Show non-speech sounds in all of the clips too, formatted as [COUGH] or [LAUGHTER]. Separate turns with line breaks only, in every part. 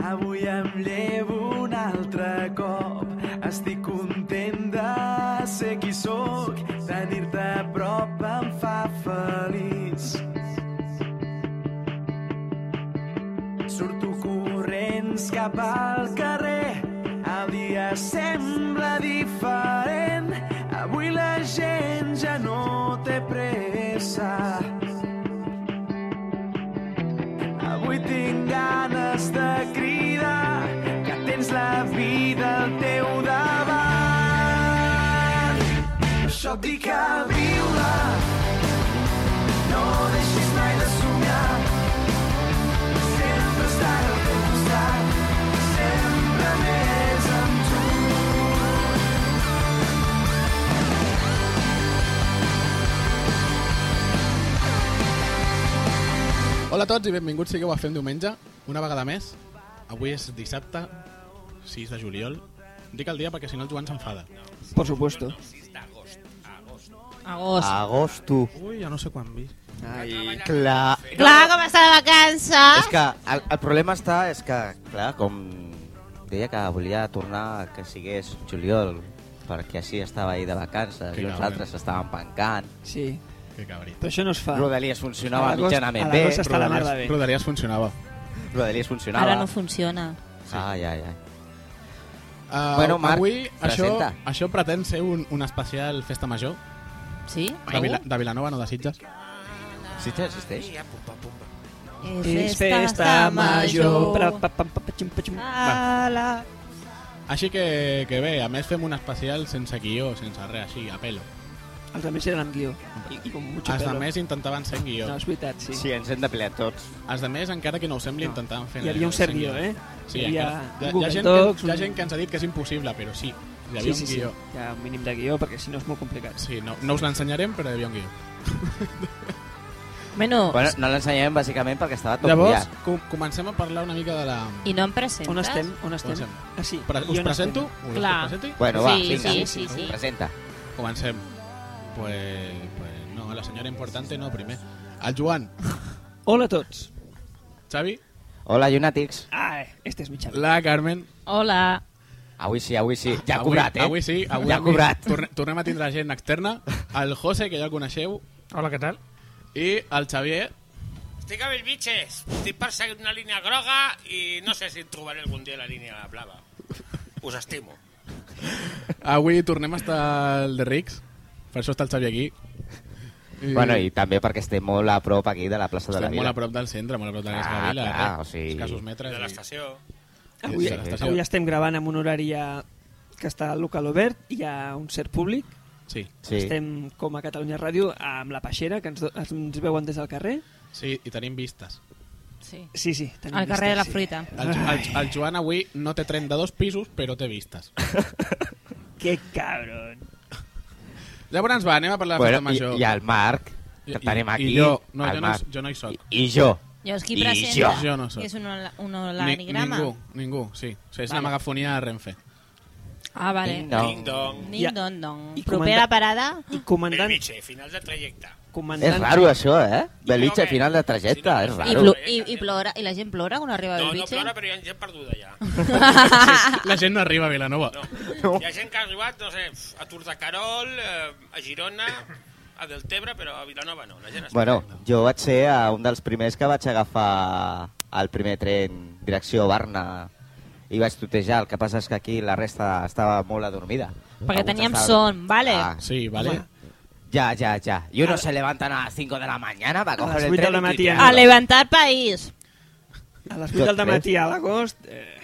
Avui em llevo un altre cop. Estic content de ser qui sóc. Tenir-te a prop em fa feliç. Surto corrents cap al carrer. El dia sembla diferent. Avui la gent ja no té pressa. Avui tinc ganes de cridar que tens la vida al teu davant. Per això et dic a viure, no deixis mai de somiar. Sempre estaré al teu costat, sempre més amb tu.
Hola a tots i benvinguts sigueu a Fem Diumenge, una vegada més. Avui és dissabte, 6 de juliol. Dic el dia perquè si no el Joan s'enfada.
Por supuesto.
Agost.
Agosto.
Ui, ja no sé quan vi.
Ai, clar.
Clar, com està de vacances.
És que el, el problema està és que, clar, com deia que volia tornar que sigués juliol, perquè així estava ahir de vacances
Clar,
i els
home.
altres estaven pencant.
Sí.
Que cabrit.
Però això no es fa.
Rodalies funcionava
A l'agost-
mitjanament
a
bé.
l'agost està la merda bé.
Rodalies funcionava.
Rodalies funcionava.
Ara no funciona.
Ai, ai, ai.
Uh,
Bueno, Marc,
avui això,
presenta.
això pretén ser un, un especial festa major
Sí?
de, Vila, de Vilanova, no de Sitges.
Sí, sí, existeix?
És festa major. Pra, pa, pa, pa, pa, xum, pa, xum.
A la...
Així que, que bé, a més fem un especial sense guió, sense res, així, a pelo.
Els altres eren amb guió. I, i com mucho
Els de
pelo.
més intentaven ser amb guió.
No, és veritat, sí.
Sí, ens hem depilat tots.
Els de més, encara que no ho sembli,
No.
intentaven fer...
Hi havia un
ser
cert guió, eh?
Sí,
hi
hi
havia
hi,
un
ha
Google
gent
Docs,
que, hi ha
un-
gent que ens ha dit que és impossible, però sí, hi havia
sí,
un
sí,
guió.
Sí. Hi ha un mínim de guió, perquè si no és molt complicat.
Sí, no, no us l'ensenyarem, però hi havia un guió.
Bueno,
Bueno, no l'ensenyem bàsicament perquè estava tot
Llavors,
mullat.
com, comencem a parlar una mica de la...
i no em presentes?
On estem? On estem?
estem?
Ah, sí.
Pre
I
us
on
presento?
estem?
Us
Clar.
presenti?
Bueno, va,
sí,
vinga.
sí, sí, sí.
Presenta.
Comencem. Pues, pues no, la senyora important no, primer. El Joan,
Hola a tots.
Xavi,
Hola, llunàtics.
Ah, este és mi xavi.
la Carmen...
Hola.
Avui sí, avui sí. Ja ha
Ah, avui-
cobrat, eh?
Avui sí, avui,
Ja ha cobrat.
Torne, tornem a tindre gent externa. El José, que ja el coneixeu,
Hola, què tal?
i el Xavier,
Estic a Belvitges, estic perseguint una línia groga i no sé si trobaré algun dia la línia blava. Us estimo.
Avui tornem a estar al de Rics, per això està el Xavi aquí.
Bueno, i també perquè estem molt a prop aquí de la plaça de la
estem
Vila.
molt a prop del centre, molt a prop de la Casa de
Ah,
la Vila.
clar,
eh?
o sigui-
Escassos metres.
De
i-
l'estació.
Avui,
Sí, sí, sí.
avui estem gravant amb un horari ja que està el local obert, hi ha un cert públic,
Sí.
Sí.
estem com a Catalunya Ràdio amb la peixera, que ens, do- ens veuen des del carrer.
sí, i tenim vistes.
Sí.
Sí, sí. tenim
Al carrer de la
vistes, sí.
fruita.
El, el, el Joan avui no té 32 pisos, però té vistes.
Que cabron.
Llavors va, anem a parlar de la
Bueno,
festa major.
i, i el Marc, que el tenim aquí.
I jo, no,
el
jo, no,
Marc.
jo no hi soc.
I, i jo.
Jo és qui
I
presenta.
jo. Jo no soc.
És un, hola- un
Ni-
holanigrama.
ningú, ningú, sí. O sigui, és una megafonia de Renfe.
Ah, vale.
Ding
No.
dong.
Ding dong.
Ning
Ja.
don dong.
I comanda-
Propera parada?
I comandant...
Belvitge, final de trajecte.
doncs,
comandant
És raro, això, eh? Belitxa,
que-
final de trajecte,
Sí,
és
no,
I,
raro.
plo i, i, plora, I la gent plora quan arriba
No,
el
no
bitxe?
plora, però hi ha gent perduda ja.
Ah.
La gent no arriba a Vilanova.
No. Hi ha gent que ha arribat, no sé, a Tour de Carol, eh, a Girona, a Deltebre, però a Vilanova no. La gent es
Bueno, jo vaig ser eh, un dels primers que vaig agafar el primer tren direcció Barna i vaig tutejar. El que passa és que aquí la resta estava molt adormida.
Perquè
Alguns
teníem
estaven- Ah,
son, vale.
Sí, vale?
Ya, ya, ya. Y uno se levantan a las 5 de la mañana para
A las
coger el
vuit
tren.
de la
y tirar.
mañana.
A levantar país.
A les 8 del matí a l'agost... Eh,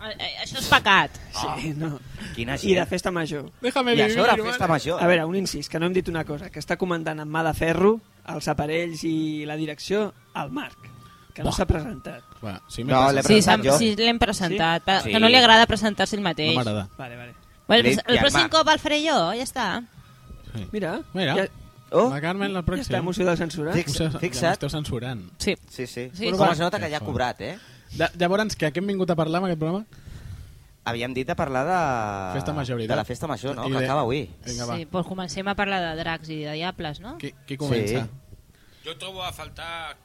Eh, eh, Això és pecat.
sí, no.
Oh, Quina
I de
gent.
festa major.
Déjame
I a
vivir,
sobre
vale?
festa major.
A veure, un incís, que no hem dit una cosa, que està comandant amb mà de ferro els aparells i la direcció al Marc, que no
Buah.
s'ha presentat.
Va, sí,
No,
no,
l'he
Sí,
presentat
s'ha-
jo.
sí l'hem presentat.
Sí?
Sí? Que no li agrada presentar-se ell mateix.
no m'agrada.
Vale, vale.
Bueno,
Li-
el, el
i
pròxim
armar.
cop el faré jo, ja està.
Sí.
Mira,
Mira.
ja,
Oh,
La Carmen, la
ja està
pròxima.
moció del censura.
Sí.
Us- Ja
Fixa't.
m'esteu censurant.
Sí.
sí, sí.
Sí,
Bueno,
sí.
Com es nota que
Que
ja ha
fort.
cobrat, eh?
De, llavors, que, a què hem vingut a parlar amb aquest programa?
Havíem dit de parlar de...
Festa major,
Ah, de
veritat?
la festa major, no?
I
Que
de-
acaba avui.
Vinga, va.
sí, doncs comencem a parlar de dracs i de diables, no?
Qui, qui comença?
Sí.
Jo trobo a faltar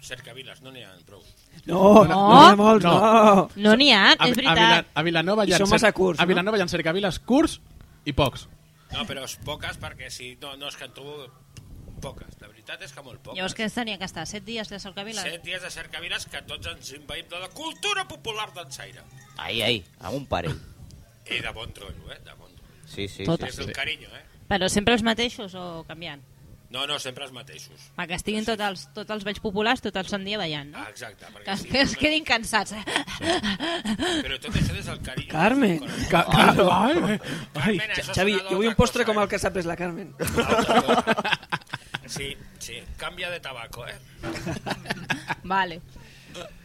Cercaviles, no n'hi ha prou.
No, no, no, hi ha molts,
No.
no.
No n'hi ha,
A, a,
és
Vila,
veritat.
a Vilanova
I
hi ha...
són
en
massa
cer-
curts,
A
no?
Vilanova hi ha cercaviles curts i pocs.
No, però és poques perquè si... No, no, és que en trobo poques. La veritat és que molt poques.
Llavors què tenia que estar? Set dies de Cercavila?
Set dies de cercaviles que tots ens invaïm de la cultura popular d'ensaire.
Ai, ai, amb un parell.
I de bon rotllo, eh? De bon rotllo.
Sí, sí,
Tot.
sí.
Des del carinyo, eh?
Però sempre els mateixos o canviant?
No, no, sempre els mateixos.
Va, que estiguin tots els, tots els vells populars tot el sant dia ballant, no?
Ah, exacte.
Que,
Perquè sí,
que [LAUGHS] es quedin cansats.
Però tot això des del carinyo.
Carmen.
Ca, ca, ai, eh, ai.
Carmen, això
Xavi,
sonava
jo vull
otra
un postre
cosa,
com
eh?
el que sap és la Carmen.
Sí, sí, cambia de tabaco, eh?
[LAUGHS] vale.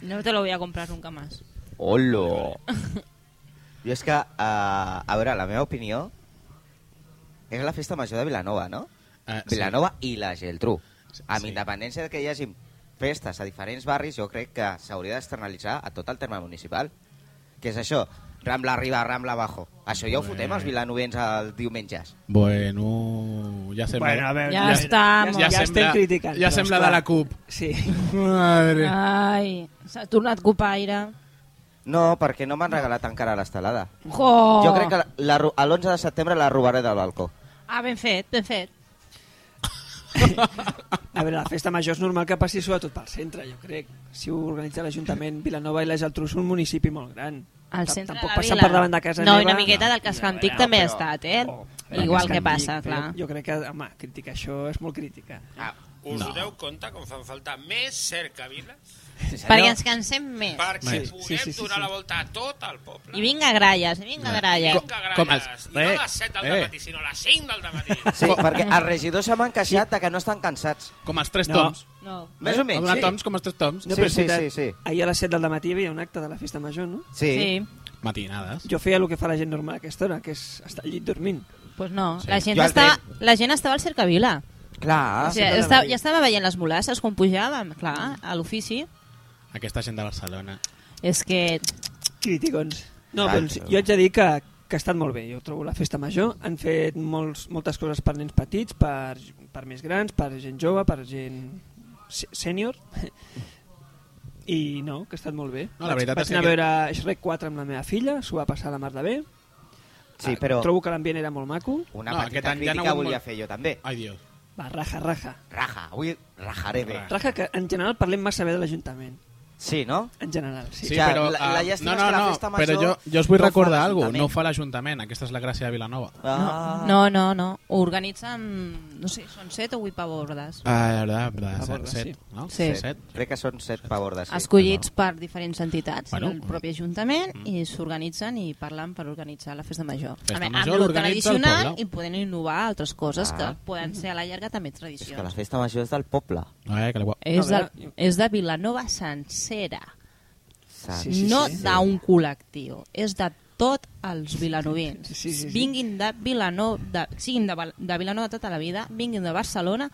No te lo voy a comprar nunca más.
Olo! Jo és que, eh, a veure, la meva opinió és la festa major de Vilanova, no?
Eh, sí.
Vilanova i la Geltrú. Amb
Sí.
independència de que hi hagi festes a diferents barris, jo crec que s'hauria d'externalitzar a tot el terme municipal. Que és això, Rambla arriba, Rambla abajo. Això ja ho
Bueno.
fotem els vilanovens els diumenges.
Bueno, ja sembla...
Bueno, a veure,
Ja
a veure.
està,
ja,
molt.
ja,
ja
sembla,
estem criticant.
Ja
però,
sembla de
esclar.
la CUP.
Sí. [LAUGHS]
Madre.
Ai, s'ha tornat copaire.
No, perquè no m'han regalat encara l'estelada.
Jo!
Oh. Jo crec que la, la, ro- a l'11 de setembre la robaré del balcó.
Ah, ben fet, ben fet.
A veure, la festa major és normal que passi sobretot pel centre, jo crec. Si ho organitza l'Ajuntament, Vilanova i la Geltrú és un municipi molt gran.
Al
Tam-
centre
Tampoc
de la
passa
vila.
per davant de casa
no,
meva.
i una miqueta del casc antic també ha
però-
estat, eh?
Oh, a veure,
Igual
és
que
antic,
passa,
però
clar.
Jo crec que, home, criticar això és molt crítica.
Ah,
Us
No.
no. doneu compte com fan falta més cercaviles
Perquè ens cansem més.
perquè
Sí,
sí, puguem sí, sí, sí, donar
sí.
la volta a tot el poble.
I vinga gralles, i vinga gralles.
Vinga, gràcies.
Com
Com
els-
els... I no a les 7 del
eh, eh.
eh. matí, sinó a les 5 del matí.
Sí, perquè els regidors se m'han queixat de que no estan cansats.
Com els tres
No.
toms.
No.
Més o
Ha
menys,
donat
sí.
toms com els tres toms.
No, Sí, però sí, sí, sí.
Ahir a les 7 del matí hi havia un acte de la festa major, no?
Sí.
Sí,
Matinades.
Jo feia el que fa la gent normal a aquesta hora, que és estar al llit dormint.
pues no.
Sí.
La, gent
Jo Ah, el
estava,
tren.
la gent estava al Cercavila.
Clar.
o sigui,
sí,
estava,
sí.
ja estava veient les mulasses quan pujàvem, clar, a l'ofici.
Aquesta gent de Barcelona.
És que...
Criticons. No,
Clar,
doncs
però-
jo haig de dir que, que ha estat molt bé. Jo trobo la festa major. Han fet molts, moltes coses per nens petits, per, per més grans, per gent jove, per gent se- sènior. I no, que ha estat molt bé.
No, la veritat
vaig,
és
vaig anar
que-
a veure Shrek 4 amb la meva filla, s'ho va passar la mar de bé.
Sí,
Ah,
però
Trobo que l'ambient era molt maco.
una
No, aquest
petita
any ja n'ha
crítica
hagut
volia
molt.
fer jo també.
Ai, Dios.
Va, raja, raja.
Raja, avui rajaré bé.
Raja que en general parlem massa bé de l'Ajuntament.
Sí, no?
En general, sí.
Sí. Ja, la-
ah,
la llàstima
no,
és
no,
que la
no,
festa major
però jo, jo us vull
no ho fa
recordar alguna cosa.
l'Ajuntament.
No ho fa l'Ajuntament, aquesta és la gràcia de Vilanova.
Ah.
No, no, no. Ho organitzen, no sé, són set o vuit pavordes.
Ah, la veritat,
borda,
set,
sí.
set, no?
Sí.
Set.
Crec que són set pavordes. Sí.
Escollits per diferents entitats
Bueno,
bueno, del propi Ajuntament i s'organitzen i parlen per organitzar la Festa Major.
Festa
a veure,
Major
amb lo
l'organitza el
tradicional
poble.
i podent innovar altres coses
Ah.
que poden ser a la llarga també
És que la
tradicions.
festa major és del poble.
Ai, eh, que la guau.
És
A
de,
veure, jo-
és de Vilanova sencera,
Saps?
Sí, sí,
no
sí.
d'un col·lectiu. És de tots els vilanovins.
Sí, sí, sí, sí.
Vinguin de Vilanova, de, siguin de, Val- de Vilanova tota la vida, vinguin de Barcelona,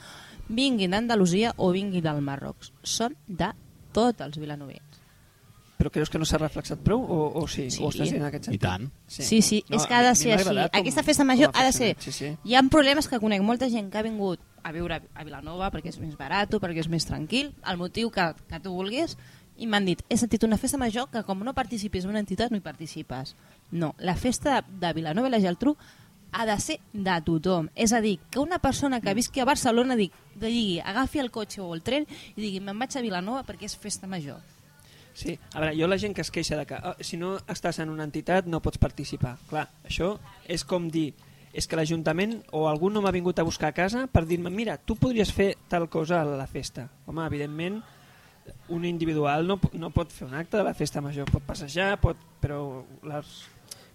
vinguin d'Andalusia o vinguin del Marroc. Són de tots els vilanovins.
Però creus que no s'ha reflexat prou o, o sí?
Sí.
O estàs dient en aquest
I
sentit?
tant.
Sí, sí, no, és que ha
a
de
mi-
ser
a mi m'ha
així.
agradat com-
Aquesta festa
com
major
a
ha de ser...
funcionat, Sí, sí.
Hi ha problemes que conec molta gent que ha vingut a viure a Vilanova perquè és més barat, perquè és més tranquil, el motiu que, que tu vulguis, i m'han dit, he sentit una festa major que com no participis en una entitat no hi participes. No, la festa de, de Vilanova i la Geltrú ha de ser de tothom. És a dir, que una persona
Mm.
que visqui a Barcelona digui, digui agafi el cotxe o el tren i digui, me'n vaig a Vilanova perquè és festa major.
Sí, a veure, jo la gent que es queixa de que "Ah, si no estàs en una entitat no pots participar. Clar, això és com dir és que l'Ajuntament o algú no m'ha vingut a buscar a casa per dir-me, mira, tu podries fer tal cosa a la festa. Home, evidentment, un individual no, po- no pot fer un acte de la festa major, pot passejar, pot, però les,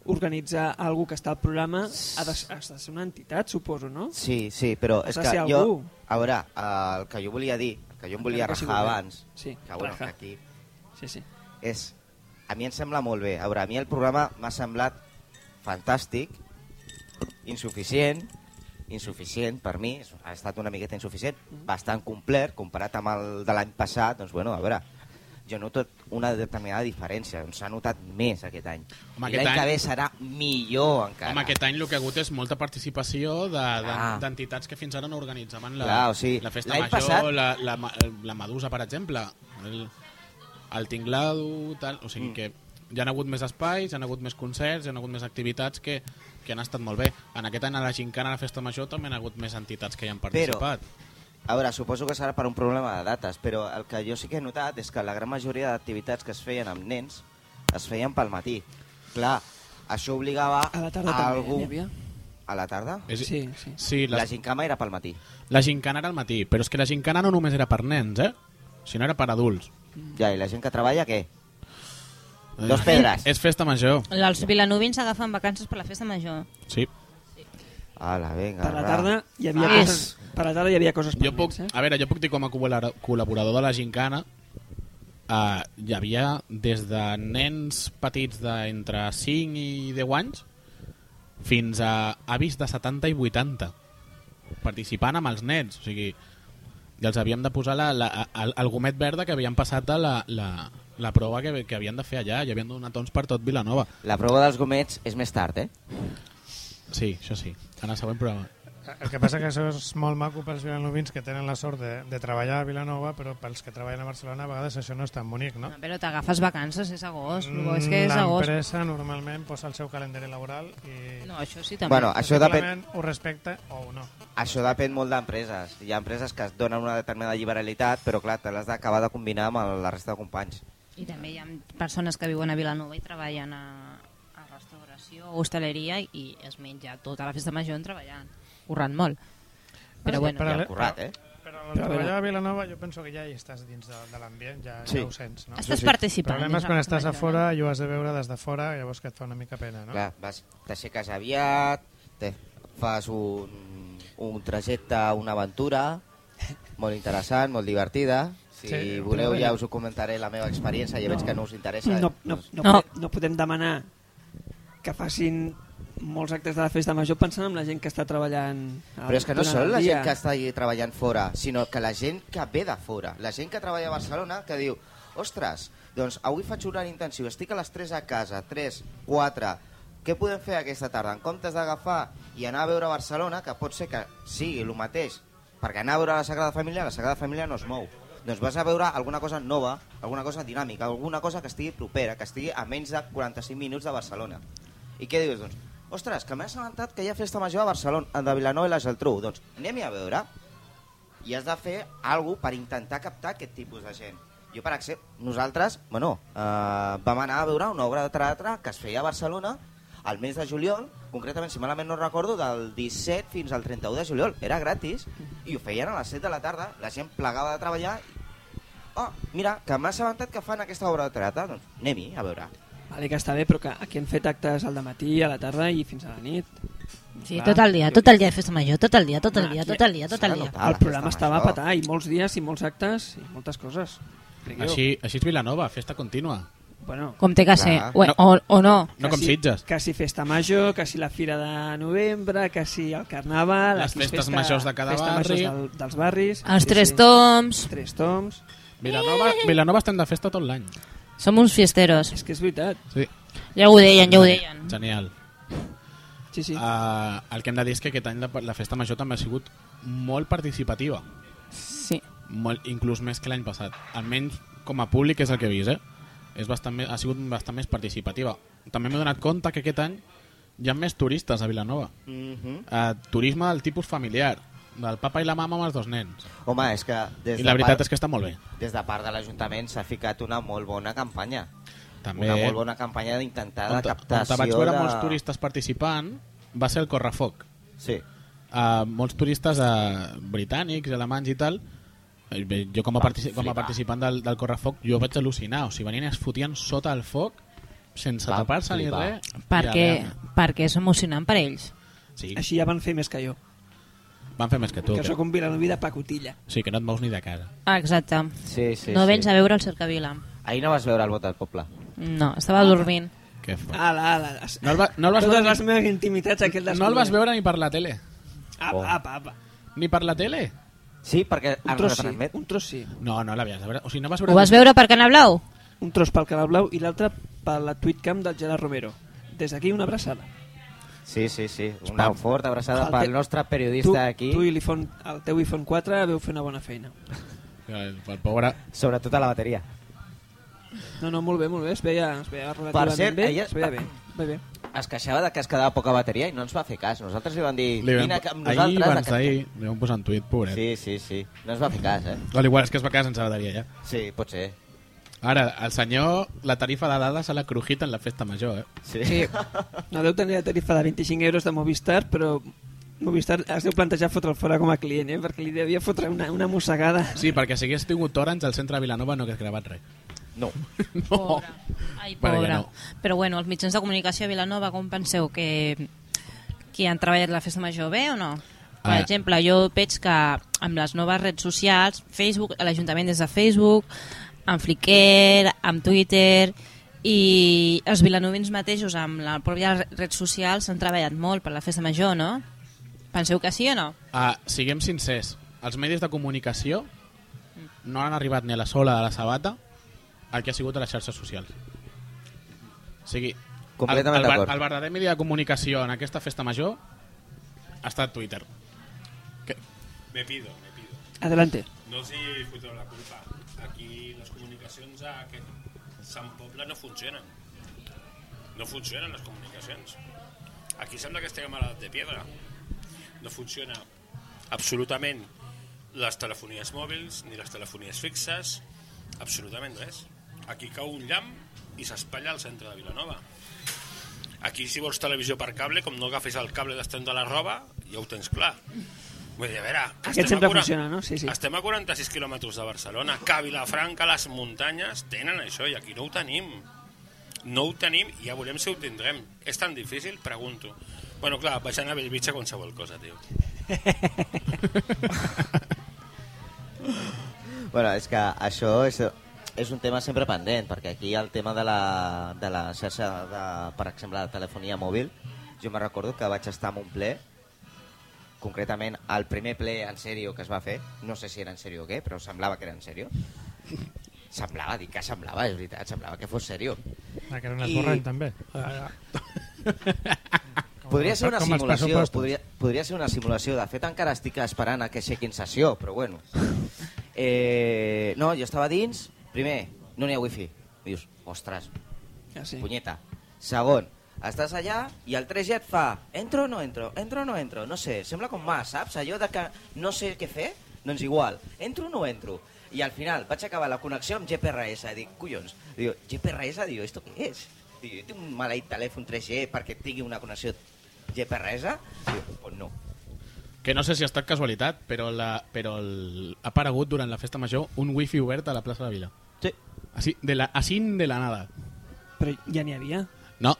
organitzar algú que està al programa ha de, ha de ser una entitat, suposo, no?
Sí, sí, però
Has
és
de
que
ser
jo...
algú.
A veure, eh, el que jo volia dir, el que jo em volia
Encara que sigui
rajar
bé.
abans,
Sí,
que bueno,
raja.
que aquí
Sí, sí.
és... A mi em sembla molt bé. A veure, a mi el programa m'ha semblat fantàstic, insuficient, insuficient per mi, és- ha estat una miqueta
Mm.
insuficient, bastant complet, comparat amb el de l'any passat, doncs bueno, a veure, jo no tot, una determinada diferència. Doncs S'ha notat més aquest any.
Home,
I
aquest
l'any
any-
que ve serà millor encara.
Home, aquest any el que ha hagut és molta participació de- de-
Clar.
d'entitats que fins ara no organitzaven la,
Clar, o sigui,
la festa
l'any
major,
passat-
la, la, ma- la Medusa, per exemple, el, el Tinglado, tal... O sigui mm. que hi han hagut més espais, hi han hagut més concerts, hi han hagut més activitats que, que han estat molt bé. En aquest any a la Gincana, a la festa major, també han hagut més entitats que hi han
Però-
participat.
A veure, suposo que serà per un problema de dates, però el que jo sí que he notat és que la gran majoria d'activitats que es feien amb nens es feien pel matí. Clar, això obligava
A la tarda
a
també
algú...
n'hi havia.
A la tarda?
És-
Sí, sí.
sí
La
les,
gincama era pel matí.
La gincana era al matí, però és que la gincana no només era per nens, eh? Sinó era per adults.
Mm.
Ja, i la gent que treballa, què? Dos pedres.
És festa major,
Els vilanovins agafen vacances per la festa major.
sí.
Ala, vinga.
Per la
va.
tarda hi havia
Ah.
coses... Per la tarda hi havia coses per
Jo puc,
nens, eh?
a veure, jo puc dir com a col·la- col·laborador de la gincana eh, hi havia des de nens petits d'entre 5 i 10 anys fins a avis de 70 i 80 participant amb els nens o sigui, i els havíem de posar la, la, el, el gomet verda que havien passat a la, la, la prova que, que havien de fer allà i havien de donar tons per tot Vilanova
La prova dels gomets és més tard, eh?
Sí, això sí, en el següent programa.
El que passa que això és molt maco pels vilanovins que tenen la sort de, de treballar a Vilanova, però pels que treballen a Barcelona a vegades això no és tan bonic, no?
No, però t'agafes vacances, és agost. Mm, és que és agost.
L'empresa normalment posa el seu calendari laboral i...
No, això sí, també.
Bueno, això depèn,
possiblement ho respecta o no.
això depèn molt d'empreses. Hi ha empreses que es donen una determinada liberalitat, però clar, te l'has d'acabar de combinar amb la resta de companys.
I també hi ha persones que viuen a Vilanova i treballen a, a restauració o hostaleria i es menja tota la festa major en treballant. Currant molt. Però bueno,
I el
Paral·lel-
currat, eh?
Però el treballar a Vilanova jo penso que ja hi estàs dins de, de l'ambient, ja,
Sí.
ja ho sents, no?
estàs
sí.
El
participant.
problema és
és
quan
la
estàs a
major,
fora i ho has de veure des de fora, llavors que et fa una mica pena, no?
Clar, vas, t'aixeques aviat, te, fas un, un trajecte, una aventura, molt interessant, molt divertida. Si
Sí,
voleu
però bé.
ja us ho comentaré la meva experiència, ja veig que no us interessa. Doncs
No, no, no,
No.
no. no podem demanar que facin molts actes de la festa major pensant en la gent que està treballant al-
Però és que no
durant
són
el
la
dia.
gent que està allí treballant fora, sinó que la gent que ve de fora, la gent que treballa a Barcelona, que diu, ostres, doncs avui faig horari intensiu, estic a les 3 a casa, 3, 4, què podem fer aquesta tarda? En comptes d'agafar i anar a veure Barcelona, que pot ser que sigui el mateix, perquè anar a veure la Sagrada Família, la Sagrada Família no es mou. Doncs vas a veure alguna cosa nova, alguna cosa dinàmica, alguna cosa que estigui propera, que estigui a menys de 45 minuts de Barcelona. I què dius, doncs? Ostres, que m'he assabentat que hi ha festa major a Barcelona, de Vilanova i la Geltrú. Doncs anem-hi a veure. I has de fer alguna per intentar captar aquest tipus de gent. Jo, per exemple, nosaltres, bueno, eh, vam anar a veure una obra de teatre que es feia a Barcelona al mes de juliol, concretament, si malament no recordo, del 17 fins al 31 de juliol. Era gratis i ho feien a les 7 de la tarda. La gent plegava de treballar. Oh, mira, que m'ha assabentat que fan aquesta obra de teatre. Doncs anem-hi a veure.
Vale, que està bé, però que aquí hem fet actes al matí, a la tarda i fins a la nit.
Ah,
no? Sí,
Va.
tot el dia, tot el dia de festa major, tot el dia, tot el
Home,
dia,
aquí-
tot el dia, tot
s'ha
el
de
dia.
notar. Ah,
el
la
programa
festa
estava a
major.
petar, i molts dies, i molts actes, i moltes coses. Crec jo.
Així, així és Vilanova, festa contínua.
Bueno,
Com té que ser,
Clar.
o, o, o no.
No com
si-
Sitges.
Que si festa major, que si la fira de novembre, que si el carnaval...
Les
aquí
festes
festa-
majors de cada
festa majors
barri.
Del, dels barris.
Els
Sí,
tres
sí.
toms,
Tres toms.
Vilanova,
Eh.
Vilanova estem de festa tot l'any.
som uns fiesteros.
És que és veritat.
Sí.
Ja ho deien, ja ho deien.
Genial.
Sí, sí.
Uh, el que hem de dir és que aquest any la, la festa major també ha sigut molt participativa.
Sí.
Molt, inclús més que l'any passat. Almenys com a públic és el que he vist, eh? És bastant més, ha sigut bastant més participativa. També m'he donat compte que aquest any hi ha més turistes a Vilanova.
Mm -hmm.
Uh, turisme del tipus familiar, del papa i la mama amb els dos nens.
Home, és que... Des
I
de
la veritat
part-
és que està molt bé.
des de part de l'Ajuntament s'ha ficat una molt bona campanya.
També,
Una molt bona campanya d'intentar de captació
on vaig veure
de...
molts turistes participant va ser el Correfoc.
Sí.
Uh, molts turistes uh, britànics, alemanys i tal Eh, bé, jo com a,
Van
partici com a
flipar.
participant del, del Correfoc jo vaig al·lucinar, o sigui, venien i es fotien sota el foc sense
Van
tapar-se ni res
flipar.
Perquè,
I a veure,
perquè és emocionant per ells.
sí,
Així ja van fer més que jo.
van fer més que tu
que
que,
sóc un vilanoví de pacotilla.
o sigui, que no et mous ni de casa
Ah, exacte.
Sí, sí,
no
sí.
vens a veure el Cercavila.
Ahir no vas veure el vot del poble.
No, estava dormint.
que fort.
Ala, ala. Es-
No el va- no el vas
Ah.
veure
Totes
ni-
les meves intimitats aquell
no el vas veure ni per la tele
Oh.
Apa, apa, apa.
ni per la tele
Sí, perquè
Un
ens
tros sí,
retransmet.
un tros sí.
no, no l'havies de veure o sigui, no vas veure
Ho vas veure per Canal Blau?
un tros pel Canal Blau i l'altre per la Twitcam del Gerard Romero. Des d'aquí una abraçada.
Sí, sí, sí. Una
Espam.
forta abraçada
Falta-
pel nostre
tu,
periodista aquí.
tu i l'iPhone, el teu iPhone 4 veu fer una bona feina.
El, el pobre...
Sobretot a la bateria.
No, no, molt bé, molt bé, es veia, es veia relativament
cert,
bé,
ella- Ah.
es veia bé. bé, bé.
Es queixava de que es quedava poca bateria i no ens va fer cas. Nosaltres li vam dir,
Li vam,
vine amb
ahir,
nosaltres.
abans
que-
d'ahir, li vam posar un tuit, pobret. Sí.
Sí, sí, sí. No ens va fer cas, eh?
Al igual, és que es va quedar sense bateria, ja.
Sí, pot ser.
Ara, el senyor, la tarifa de dades se l'ha crujit en la festa major, eh?
Sí.
Sí. No deu tenir la tarifa de 25 euros de Movistar, però Movistar es deu plantejar fotre'l fora com a client, eh? perquè li devia fotre una, una mossegada.
Sí, perquè si hagués tingut Orange al centre de Vilanova no hagués gravat res.
No.
No.
Pobre. Ai,
Bueno, ja
pobre.
no.
Però bueno, els mitjans de comunicació a Vilanova, com penseu que, que han treballat la festa major bé o no? Per
Ah.
exemple, jo veig que amb les noves redes socials, Facebook, l'Ajuntament des de Facebook, amb Flickr, amb Twitter i els vilanovins mateixos amb la pròpia red social s'han treballat molt per la festa major, no? Penseu que sí o no?
Ah, siguem sincers, els medis de comunicació no han arribat ni a la sola de la sabata el que ha sigut a les xarxes socials. O sigui, el, el,
Completament
ver-
d'acord.
el verdader medi de comunicació en aquesta festa major ha estat Twitter.
Me pido, me pido.
Adelante.
No els hi foteu la culpa. Aquí les comunicacions a aquest Sant Poble no funcionen. No funcionen les comunicacions. Aquí sembla que estiguem a l'edat de piedra. No funciona absolutament les telefonies mòbils ni les telefonies fixes, absolutament res. Aquí cau un llamp i s'espatlla al centre de Vilanova. Aquí, si vols televisió per cable, com no agafis el cable d'estendre la roba, ja ho tens clar. Vull dir, a veure... que
Aquest
estem a
sempre
quaran-
funciona, no? Sí, sí.
Estem a 46 quilòmetres de Barcelona, que a Vilafranca les muntanyes tenen això i aquí no ho tenim. No ho tenim i ja veurem si ho tindrem. És tan difícil? Pregunto. Bueno, clar, baixant a Bellvitge qualsevol cosa, tio.
Bueno, és que això és, és un tema sempre pendent, perquè aquí el tema de la, de la xarxa, de, per exemple, de telefonia mòbil, jo me recordo que vaig estar en un ple, concretament el primer ple en sèrio que es va fer, no sé si era en sèrio o què, però semblava que era en sèrio. Semblava, dic que semblava, és veritat, semblava que fos sèrio.
Ah, que era un
I-
esborrany, també.
Podria ser una
com els
simulació,
pressupostos.
podria, podria ser una simulació. De fet, encara estic esperant a que aixequin sessió, però
[LAUGHS]
bueno. Eh, no, jo estava dins, primer, no n'hi ha wifi. Dius, ostres,
Ah, sí.
sí. punyeta. Segon, estàs allà i el 3G et fa entro o no entro, entro o no entro, no sé, sembla com mas, saps? Allò de que no sé què fer, doncs igual, entro o no entro. I al final vaig acabar la connexió amb GPRS, dic, collons, diu, GPRS, diu, esto què és? Diu, jo tinc un maleït telèfon 3G perquè tingui una connexió GPRS? Diu, pues no.
Que no sé si ha estat casualitat, però, la, però el, ha aparegut durant la festa major un wifi obert a la plaça de Vila.
Sí.
Així de la, així de la nada.
Però ja n'hi havia.
No,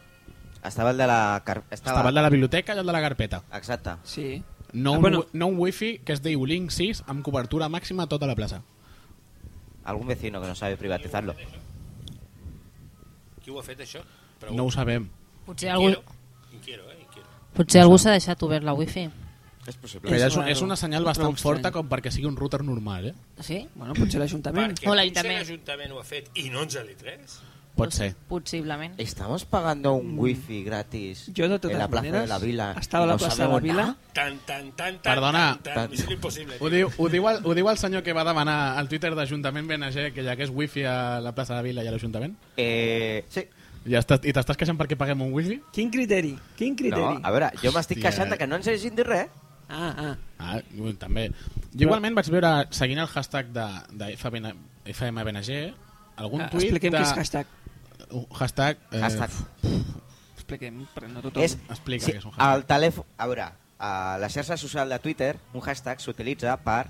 Estava el de la... Car... Estava...
estava el de la biblioteca i el de la carpeta.
Exacte.
Sí.
No
Ah,
un,
bueno.
bueno. no un wifi que es deia Ulink 6 amb cobertura màxima a tota la plaça.
Algun vecino que no sabe privatizarlo.
Qui ho ha fet, això?
No ho sabem.
Potser algú,
Inquiero, inquiero, eh? Inquiero.
potser algú s'ha deixat obert la wifi.
És possible.
Però
És
és, un,
raro.
és una senyal
És prou
bastant
estrany.
forta com perquè sigui un router normal, eh?
Sí?
Bueno, potser l'Ajuntament.
Perquè
O
potser
l'Ajuntament.
l'Ajuntament ho ha fet i no ens ha dit res.
Pot ser.
Possiblement.
Estamos pagando un wifi gratis
Jo, Mm. de totes
en la plaza
maneres,
de la Vila.
estava a la
No
plaça de
sabem
la
on
Vila.
anar.
Tan, tan, tan, tan,
Perdona.
tan, tan, Missió impossible.
Ho diu, ho, diu el, ho diu el senyor que va demanar al Twitter d'Ajuntament BNG que hi hagués wifi a la plaça de Vila i a l'Ajuntament?
Eh, sí.
I, estàs, I t'estàs queixant perquè paguem un wifi?
Quin criteri? Quin
No,
criteri?
a veure, jo m'estic
Hòstia.
queixant de que no ens hagin dit res.
Ah, ah.
Ah, ui, també. Jo igualment vaig veure, seguint el hashtag de, de FBN, FMBNG, algun
Ah,
tuit
Expliquem
de...
què és hashtag.
un Hashtag... Eh,
Hashtag.
Expliquem, perquè no tothom...
És,
Explica
sí,
què és un hashtag.
el telèfon... A veure, a la xarxa social de Twitter, un hashtag s'utilitza per...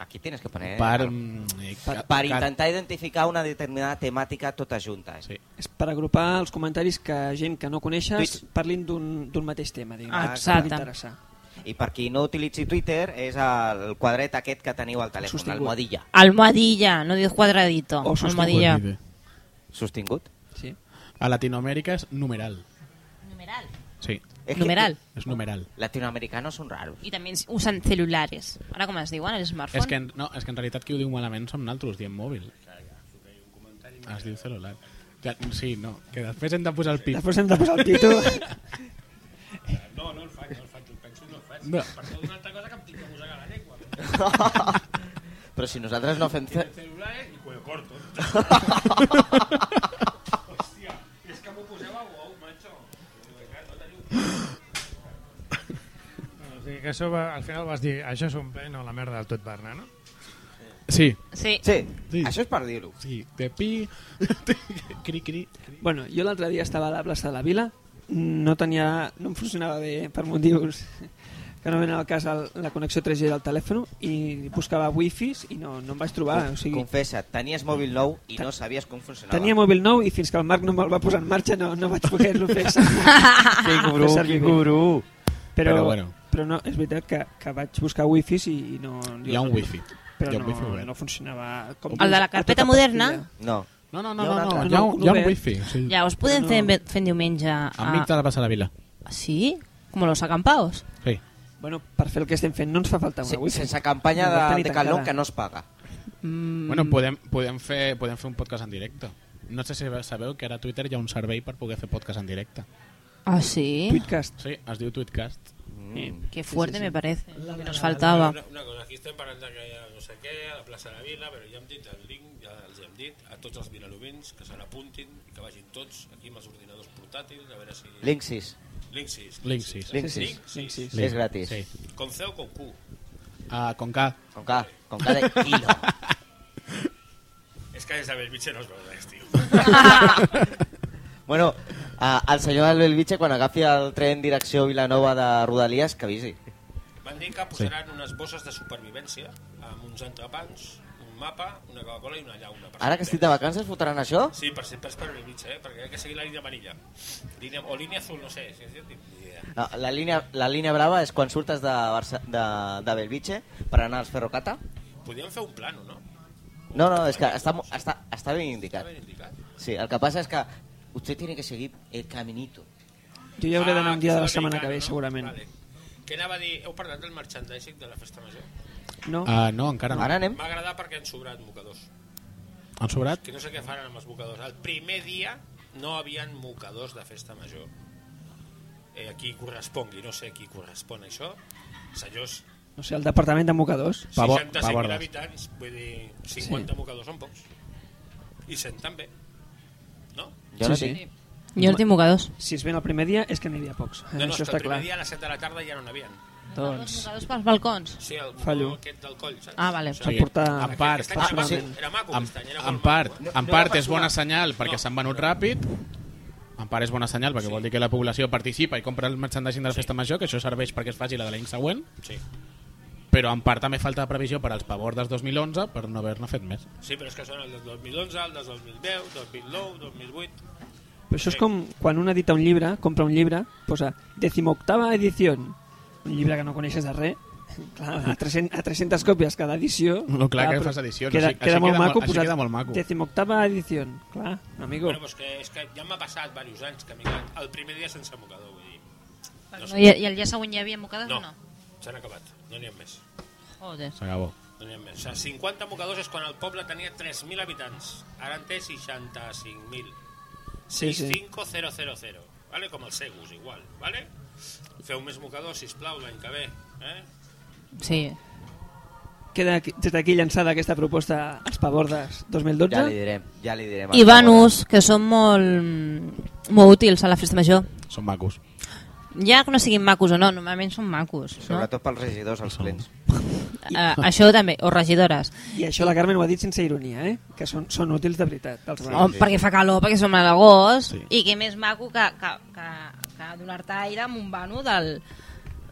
Aquí tienes que poner...
Per, mm, eh,
per,
ca-
per
ca-
intentar identificar una determinada temàtica tota junta.
Sí.
És per agrupar els comentaris que gent que no coneixes
Tuits.
parlin d'un d'un mateix tema, diguem.
Ah,
exacte.
T'interessa.
I per qui no utilitzi Twitter és el quadret aquest que teniu al telèfon,
Sostingut.
l'almohadilla.
Almohadilla, no dius cuadradito.
O sostingut.
Almohadilla.
Sostingut?
Sí.
A Latinoamèrica és numeral.
Numeral.
Sí,
És que
Numeral.
és numeral.
Latinoamericanos són raros.
I també ens- usen celulares. Ara com es diuen, el smartphone?
És que, en- no, és que en realitat qui ho diu malament som naltros, diem mòbil. Es diu celular. Que, sí, no, que després hem de posar el pit.
Després hem de posar el pito.
[LAUGHS]
No, no el faig, no el faig, el penso i no el faig.
No.
Perquè una altra cosa que em tinc que posar a la llengua.
[LAUGHS] Però si nosaltres no fem...
El
ce-
celular E i cuello corto. Hòstia, és que m'ho poseu a wow, macho. No teniu...
O sigui que això va, al final vas dir, això és un pen o la merda del tot Barna, no?
Sí,
Sí.
Sí,
Sí.
això és per dir-ho.
sí, de pi, [LAUGHS] cri, cri.
bueno, jo l'altre dia estava a la plaça de la Vila, no tenia, no em funcionava bé per motius que no venen al cas el, la connexió 3G del telèfon i buscava wifis i no, no em vaig trobar. O sigui,
Confessa, tenies mòbil nou i no sabies com funcionava.
tenia mòbil nou i fins que el Marc no me'l va posar en marxa no, no vaig poder-lo fer.
[LAUGHS]
Que guru,
Fer servir
que
bé.
guru.
Però,
Però bueno.
però no, és veritat que, que vaig buscar wifis i, i no...
Hi ha un wifi.
Però
Hi ha un
no,
wifi obert.
no funcionava... Com
El de la
a
carpeta
tota
moderna?
pastilla.
No.
No, no, no,
Hi ha un
no, no,
altre.
Ah, hi ha,
Un
un- hi ha un
obert.
wifi. Sí.
Llavors, podem
No.
fer en- fent diumenge...
Enmig de la plaça de la vila.
Sí? Com los acampaos?
Sí.
Bueno, per fer el que estem fent no ens fa falta una
Se,
wifi.
sense campanya
No vol
de,
tenir
de Calón
tancada.
que no es paga.
Mm,
Bueno, podem, podem, fer, podem fer un podcast en directe. No sé si sabeu que ara a Twitter hi ha un servei per poder fer podcast en directe.
ah, sí?
Tweetcast.
Sí, es diu Tweetcast.
Qué fuerte
Sí, sí, sí.
me parece. Lo que nos faltava.
Una, una cosa, aquí estem parlant de que hi ha no sé què, a la plaça de la Vila, però ja hem dit el link, ja els hem dit, a tots els vilalovins que se l'apuntin i que vagin tots aquí amb els ordinadors portàtils, a veure si...
Link 6.
Link 6.
Link 6.
Link
Sí,
6.
sí, sí.
És gratis.
Sí.
Con C o con Q.
Ah, con K.
Com que, com que de quilo.
És que des de Belvitge no es veu res, tio.
Bueno, a, el senyor del Belvitge, quan agafi el tren direcció Vilanova de Rodalies, que avisi.
Van dir que posaran unes bosses de supervivència amb uns entrepans, un mapa, una Coca-Cola i una llauna. per
Ara que estic de vacances fotran això?
Sí, per sempre és per Belvitge, eh? perquè hi ha que seguir la línia amarilla. Línia, o línia azul, no sé, si és ni idea.
No, la, línia, la línia brava és quan surtes de, Barça, de, de Belvitge per anar als Ferrocata.
Podríem fer un plano, no?
No, no, és que està, mo- està, està ben indicat.
Està ben indicat.
Sí, el que passa és que usted tiene que seguir el caminito.
Jo ja hauré d'anar un dia
Ah,
de la
és
setmana que
americano,
ve,
no?
segurament.
Vale. Què anava a dir? Heu parlat del merchandising de la festa major?
No?
[LAUGHS] Ah, no, encara no.
Ara anem?
M'ha agradat perquè han sobrat mocadors.
Han sobrat?
Que no sé què faran amb els mocadors. El primer dia no havien mocadors de festa major. Eh, a qui correspongui, no sé a qui correspon això. Senyors,
No sé, el departament de mocadors.
Pavo-
65.000
pavordes.
habitants, vull dir, 50
Sí.
mocadors són pocs. I 100 també. No?
Jo
Sí,
no
sí.
tinc.
Jo no tinc mocadors.
Si es ven el primer dia, és que n'hi havia pocs.
No, no, és
Això
que el
està
primer
clar.
dia a les 7 de la tarda ja no n'havien.
Doncs...
Mocadors pels balcons.
Sí, el
Fallo.
mocador aquest del coll, saps?
Ah, vale.
Sí.
portar-
En part,
Aquest any era
Sí.
maco, era maco,
en,
aquest any, era
en
molt
part,
maco, eh?
en part és bona senyal perquè s'han venut ràpid, en part és bona senyal perquè vol dir que la població participa i compra el merchandising de la festa major, que això serveix perquè es faci la de l'any següent,
Sí.
però en part també falta de previsió per als pavors del 2011 per no haver-ne fet més.
sí, però és que són el del 2011, el del 2010, 2009, 2008...
Però això és com quan un edita un llibre, compra un llibre, posa decimoctava edició, un llibre que no coneixes de res, [LAUGHS] clar, a 300, a 300 còpies cada edició...
No, clar, que
però
fas edicions,
Queda,
així-
queda,
així
molt
queda
maco
molt- així
posar
queda molt maco.
Decimoctava edició, clar, amigo.
Bueno, pues que, és que ja m'ha passat diversos anys que m'he quedat el primer dia sense mocador, vull dir... No sé.
I, I el dia següent hi havia mocadors
No,
o no?
s'han acabat, no n'hi ha més.
Joder.
S'acabó.
No n'hi ha més. O sigui, 50 mocadors és quan el poble tenia 3.000 habitants. Ara en té 65.000.
Sí, sí.
5000, vale? com els segus, igual, vale? Feu més mocadors, sisplau, l'any que ve. Eh?
Sí.
Queda aquí- des d'aquí llançada aquesta proposta als Pavordes
Ja li
2012.
direm, ja li direm.
I Vanus, que són molt, molt útils a la festa major.
Són macos.
Ja que no siguin macos o no, normalment són macos. No?
Sobretot pels regidors, els plens.
Eh, això també, o regidores.
I això la Carmen ho ha dit sense ironia, eh? Que són, són útils de veritat. Els
O
Pavordes.
perquè fa calor, perquè som a l'agost,
Sí.
i que més maco que, que, que, que donar-te aire amb un vano del...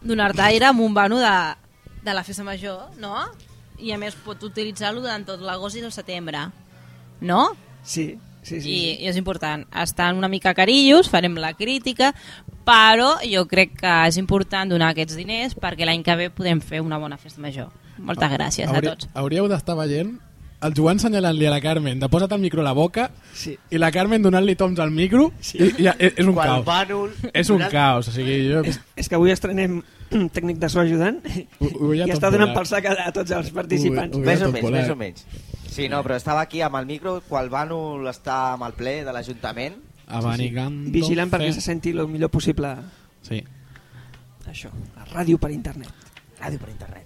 donar-te aire amb un vano de, de la festa major, no? I a més pot utilitzar-lo durant tot l'agost i el setembre, no?
Sí, sí, sí.
I,
sí.
I és important. Estan una mica carillos, farem la crítica, però jo crec que és important donar aquests diners perquè l'any que ve podem fer una bona festa major. Moltes gràcies a
Hauri-
tots.
Hauríeu d'estar veient el Joan senyalant-li a la Carmen de posa't el micro a la boca
Sí.
i la Carmen donant-li toms al micro sí. i, i, és, és un
Quan
caos.
Vanul...
És un caos, o sigui, jo...
És, és que avui estrenem [CLEARS THROAT] tècnic de so ajudant
Ho- ho veia
i
tot
[LAUGHS] està donant
volat.
pel sac a, a tots els participants.
Ho- ho-
Més o
Tot
menys,
volat.
més o menys. Sí, no, però estava aquí amb el micro quan el Bànol està amb el ple de l'Ajuntament.
A Benigando...
Vigilant perquè se senti el millor possible
Sí.
això, la ràdio per internet.
Ràdio per internet.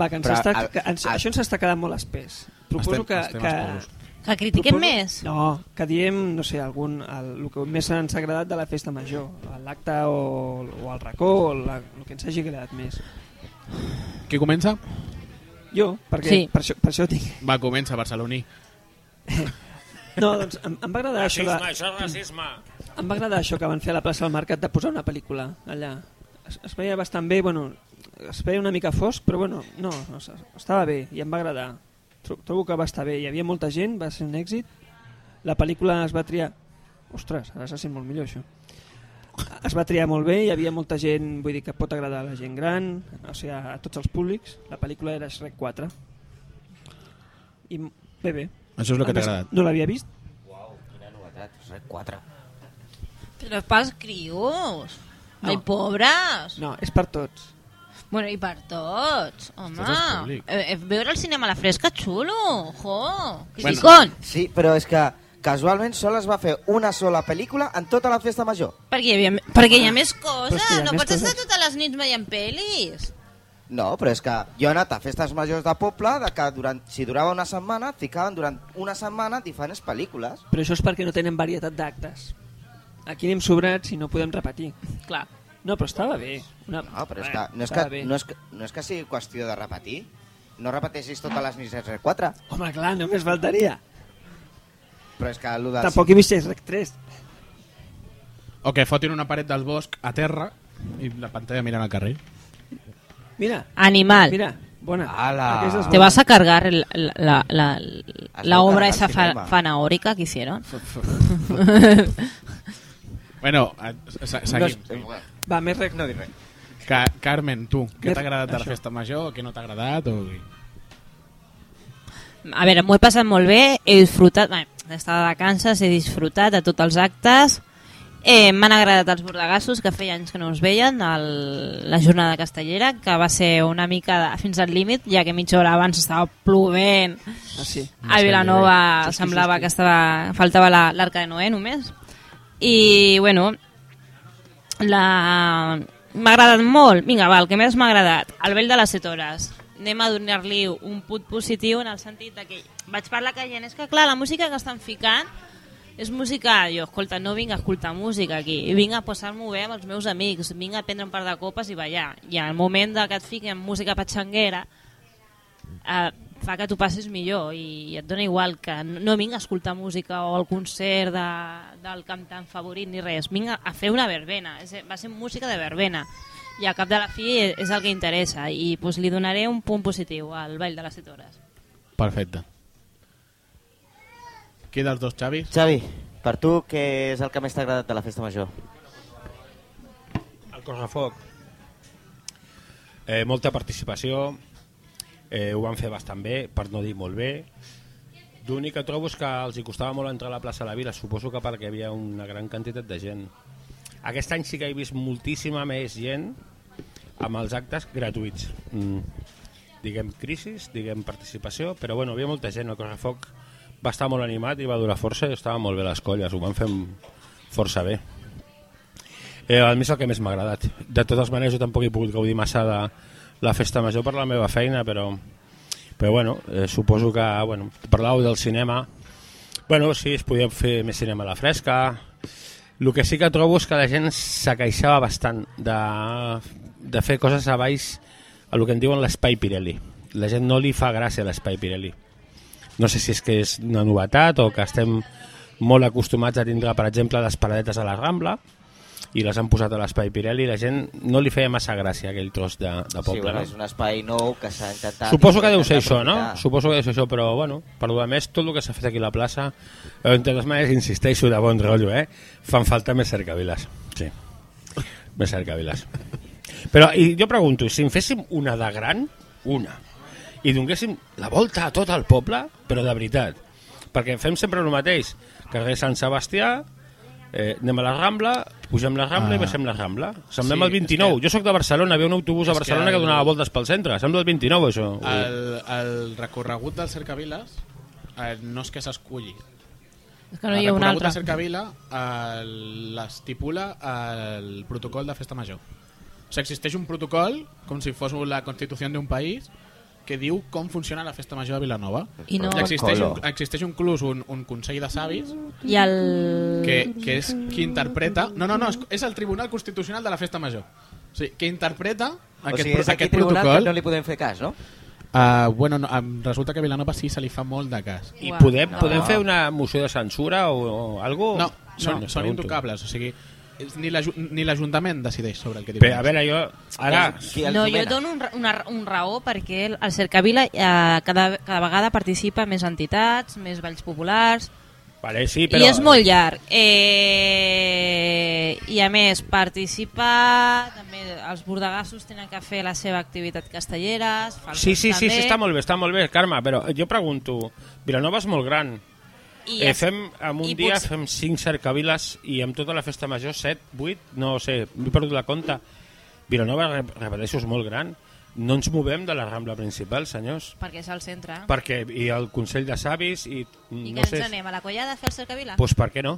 Va, que ens
Però
està,
el-
que ens,
el-
això ens està quedant molt espès. Proposo
Estem-
que,
estem espesos.
que,
Que critiquem
Proposo-
més?
No, que diem, no sé, algun, el, el que més ens ha agradat de la festa major, l'acte o, o el racó, o la, el que ens hagi agradat més.
Qui comença?
Jo, perquè
Sí.
per, això, per això tinc...
Va, comença, barceloní.
No, [LAUGHS] doncs em, em, va agradar això
Racisme,
de,
això és racisme.
em va agradar això que van fer a la plaça del Mercat de posar una pel·lícula allà. Es, es veia bastant bé, bueno, es veia una mica fosc, però bueno, no, no es- estava bé i em va agradar. Tro- Trobo que va estar bé, hi havia molta gent, va ser un èxit. La pel·lícula es va triar... Ostres, ara s'ha sent molt millor això. Es va triar molt bé, hi havia molta gent, vull dir que pot agradar a la gent gran, o sigui, a tots els públics. La pel·lícula era Shrek 4. I m- bé, bé.
Això és el
A
que t'ha
més,
agradat.
No l'havia vist,
Uau, quina novetat. Res, quatre.
Però pels crios.
No.
No. Ai, pobres.
no, és per tots.
Bueno, i per tots, home.
Tot és públic.
Eh, eh, veure el cinema a la fresca, xulo. Jo,
Bueno.
criticón.
Sí, però és que casualment sol es va fer una sola pel·lícula en tota la festa major.
Perquè hi, havia, perquè hi ha més
Però
coses.
és que hi ha
no
més
pots estar
coses.
totes les nits veient pel·lis.
No, però és que jo he anat a festes majors de poble de que durant, si durava una setmana, et ficaven durant una setmana diferents pel·lícules.
Però això és perquè no tenen varietat d'actes. Aquí anem sobrats i no podem repetir.
Clar.
No, però estava bé. Una...
No, però és
Bé,
que no és
estava
que,
bé.
no és que, no és que sigui qüestió de repetir. No repeteixis totes les nits de 4,
Home, clar, només faltaria.
però és que el de...
Tampoc he vist Shrek 3.
O que fotin una paret del bosc a terra i la pantalla mirant al carrer.
Mira,
Animal.
mira, bona.
Ala.
Aquesta és
Te
bona.
vas a cargar el- la, la, la,
Has
la obra
cargado
esa
el
fa,
cinema.
fanaórica que hicieron.
Bueno, eh, se- seguim.
No, és-
Doncs, Va, més rec...
no dic res.
Ca Carmen, tu, què
Mer-
t'ha agradat de la
això.
festa major? Què no t'ha agradat? O...
A veure, m'ho he passat molt bé, he disfrutat, bé, d'estar de vacances, he disfrutat de tots els actes, eh, m'han agradat els bordegassos, que feia anys que no us veien, el, la jornada castellera, que va ser una mica de, fins al límit, ja que mitja hora abans estava plovent,
Ah, sí.
a Vilanova semblava que estava, faltava la- l'arca de Noé només. I, bueno, la... m'ha agradat molt. Vinga, va, el que més m'ha agradat, el vell de les 7 hores. Anem a donar-li un put positiu en el sentit de que vaig parlar que gent, és que clar, la música que estan ficant és música, jo, escolta, no vinc a escoltar música aquí, vinc a posar-m'ho bé amb els meus amics, vinc a prendre un par de copes i ballar. I al moment de que et fiquen música patxanguera, eh, fa que tu passis millor i, i et dona igual que no, no vinc a escoltar música o el concert de, del cantant favorit ni res, vinc a, a fer una verbena és, a- va ser música de verbena i al cap de la fi és, és el que interessa i pues, li donaré un punt positiu al Ball de les 7 Hores
Perfecte. Qui dels dos, Xavis?
Xavi, per tu què és el que més t'ha agradat de la festa major?
El correfoc. Eh, molta participació, eh, ho van fer bastant bé, per no dir molt bé. L'únic que trobo és que els hi costava molt entrar a la plaça de la Vila, suposo que perquè hi havia una gran quantitat de gent. Aquest any sí que he vist moltíssima més gent amb els actes gratuïts. Mm. Diguem crisis, diguem participació, però bueno, hi havia molta gent, el correfoc va estar molt animat i va durar força i estava molt bé les colles, ho van fer força bé. Eh, a mi és el que més m'ha agradat. De totes maneres, jo tampoc he pogut gaudir massa de la festa major per la meva feina, però, però bueno, eh, suposo que, bueno, parlàveu del cinema. Bueno, sí, es podia fer més cinema a la fresca. El que sí que trobo és que la gent s'acaixava bastant de, de fer coses a baix a el que en diuen l'espai Pirelli. La gent no li fa gràcia l'espai Pirelli. No sé si és que és una novetat o que estem molt acostumats a tindre, per exemple, les paradetes a la Rambla, i les han posat a l'espai Pirelli i la gent no li feia massa gràcia aquell tros de, de
sí,
poble.
bueno, és
no?
un espai nou que s'ha intentat...
Suposo que
intentat
deu ser això, no?
aprofitar.
Suposo que deu ser això, però bueno, per lo més, tot el que s'ha fet aquí a la plaça, eh, entre les maneres, insisteixo, de bon rotllo, eh? Fan falta més cercaviles. Sí, més cercaviles. Però i jo pregunto, si en féssim una de gran, una, i donéssim la volta a tot el poble, però de veritat, perquè fem sempre el mateix, carrer Sant Sebastià, Eh, anem a la Rambla, pugem la Rambla
Ah.
ah. i baixem la Rambla.
Sí,
Semblem el
és
29.
que-
Jo sóc de Barcelona, havia un autobús a
És que
Barcelona que,
el-
donava voltes pel centre. Sembla el 29, això. El...
El, el recorregut del Cercaviles eh, no és que s'esculli.
És que no
el
hi ha un
recorregut
altre.
del Cercavila eh, l'estipula el protocol de festa major. O sigui, existeix un protocol, com si fos la constitució d'un país, que diu com funciona la festa major de Vilanova.
I no-
existeix, un,
Colo.
existeix inclús un, un consell de savis
I el...
que, que és qui interpreta... No, no, no, és, és el Tribunal Constitucional de la Festa Major. O sigui, que interpreta
O
aquest,
sigui,
pro-
és aquí
aquest
tribunal que
protocol.
no li podem fer cas, no?
Uh, bueno, no, em resulta que a Vilanova sí se li fa molt de cas.
I
Uau.
podem, podem fer una moció de censura o, o algo?
No, són,
Oh, No,
són
pregunto.
intocables, o sigui, és- ni l'Aju- ni l'Ajuntament decideix sobre el que diuen.
Bé, a veure, jo... Ara,
Qui els
No, jo
nomena?
dono un, ra- una, ra- un raó perquè el, el Cercavila eh, cada, cada vegada participa més entitats, més balls populars,
Vale, sí,
però...
però...
i és molt llarg. Eh... I a més, participa... També els bordegassos tenen que fer la seva activitat castellera,
Sí, sí, sí, sí, està molt bé, està molt bé, Carme, però jo pregunto, Vilanova és molt gran.
I,
Eh, fem, en un
i
dia
potser-
fem cinc cercaviles i amb tota la festa major, set, vuit, no ho sé, he perdut la compta. Vilanova, re- repeteixo, és molt gran. No ens movem de la Rambla principal, senyors.
Perquè és al centre. Per...
Perquè i el Consell de Savis i,
I
no
què ens
sé...
anem? A la collada a fer el Cercavila?
Pues Doncs per què no?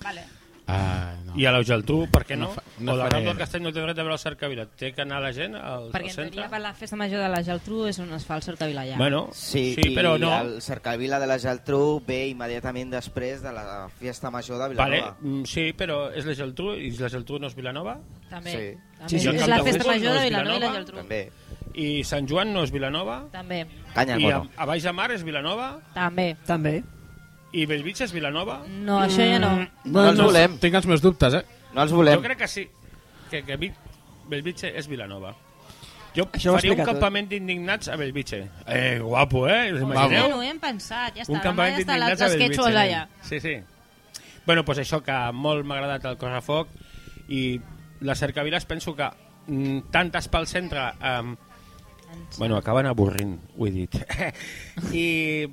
Vale.
Ah, no.
I a l'Augeltú, per què no?
No fa- no
o la
faré-
Rambla del Castell no té dret a veure el cercavila. Té que anar la gent al,
Perquè
al
en teoria
centre?
per la festa major de la Geltrú és on es fa el Cercavila ja.
Bueno,
Sí,
sí però
i
no...
el Cercavila de la Geltrú ve immediatament després de la festa major de
Vale,
Vilanova.
mm, sí, però és la Geltrú i la Geltrú no és Vilanova
també.
sí.
també.
Sí, sí,
és
el
la
camp de
festa
futbol
major de
no és
Vilanova i la
Vilanova,
Geltrú.
També.
i Sant Joan no és Vilanova
També.
Canya al
i a,
mono.
a Baix de Mar és Vilanova
També.
També.
i Bellvitge és Vilanova.
No, això ja no.
No els volem.
Tinc els meus dubtes, eh?
No els
Jo
volem.
crec que sí, que, que Vi- Bellvitge és Vilanova. Jo
Això ho
faria un
explica tot.
campament d'indignats a Bellvitge. Eh, guapo, eh? Us
Ja
imagineu?
no ho hem pensat, ja està.
un
Demà
campament
ja està
d'indignats
l'altre
a Bellvitge.
esquetxos allà.
Sí, sí. Bueno, doncs això que molt m'ha agradat el Correfoc i les cercaviles penso que mm, tantes pel centre eh, Bueno, acaben avorrint, ho he dit. [LAUGHS] I,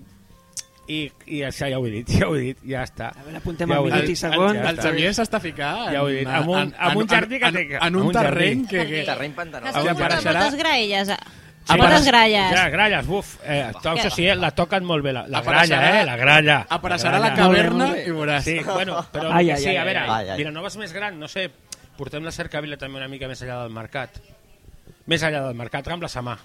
i, i això ja ho he dit, ja ho he dit, ja està.
A veure, apuntem
ja
el
ho he
minut
dit,
i segon.
Ja
El
està.
Xavier s'està ficant...
Ja ho he dit, amb un- amb un jardí que
en,
té-
en,
amb
un
un
terreny
jardí.
que... que...
Terreny pantanós.
Que
Avui
segur que
apareixerà-
moltes graelles. eh?
Sí,
Moltes
apareix-
gralles.
Ja, gralles, buf. Eh, to, això sí, eh, la toquen molt bé, la, la
Apareixerà-
gralla, eh, la gralla.
Apareixerà la
gralla.
caverna
Molt bé, molt bé.
i veuràs. [LAUGHS]
Sí, bueno, però
Ai, ai,
sí,
ai,
a veure,
ai, ai, ai.
Vilanova és més gran, no sé, portem la cercavila també una mica més enllà del mercat. Més enllà del mercat, Rambla Samà.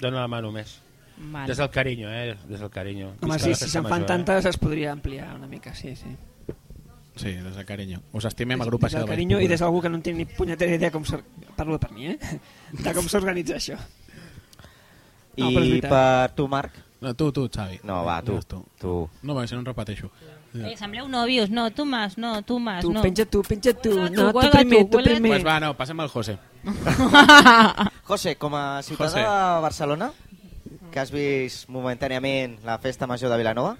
Dóna la mà només.
Vale.
Des del carinyo, eh? Des del carinyo.
Home,
Visca
sí,
la
si
festa
se'n fan
major, eh?
tantes es podria ampliar una mica, sí, sí.
Sí, des de carinyo. Us estimem,
Des
agrupació
del
de
carinyo i des d'algú que no en tinc ni punyetera idea com s'or- parlo per mi, eh? [LAUGHS] De com s'organitza això. No, però és
I
veritat.
per tu, Marc?
No, tu, tu, Xavi.
No, va, tu.
Digues tu.
tu.
No, perquè si no em repeteixo.
Eh, sembleu novios. No, tu mas, no, tu mas,
Tu,
Ah, no.
penja tu, penja tu.
Huela tu,
No, tu
huela tu,
primer, tu
huela tu.
primer.
Pues va, no, passem al José.
José, com a ciutadà
José.
de Barcelona, que has vist momentàniament la festa major de Vilanova,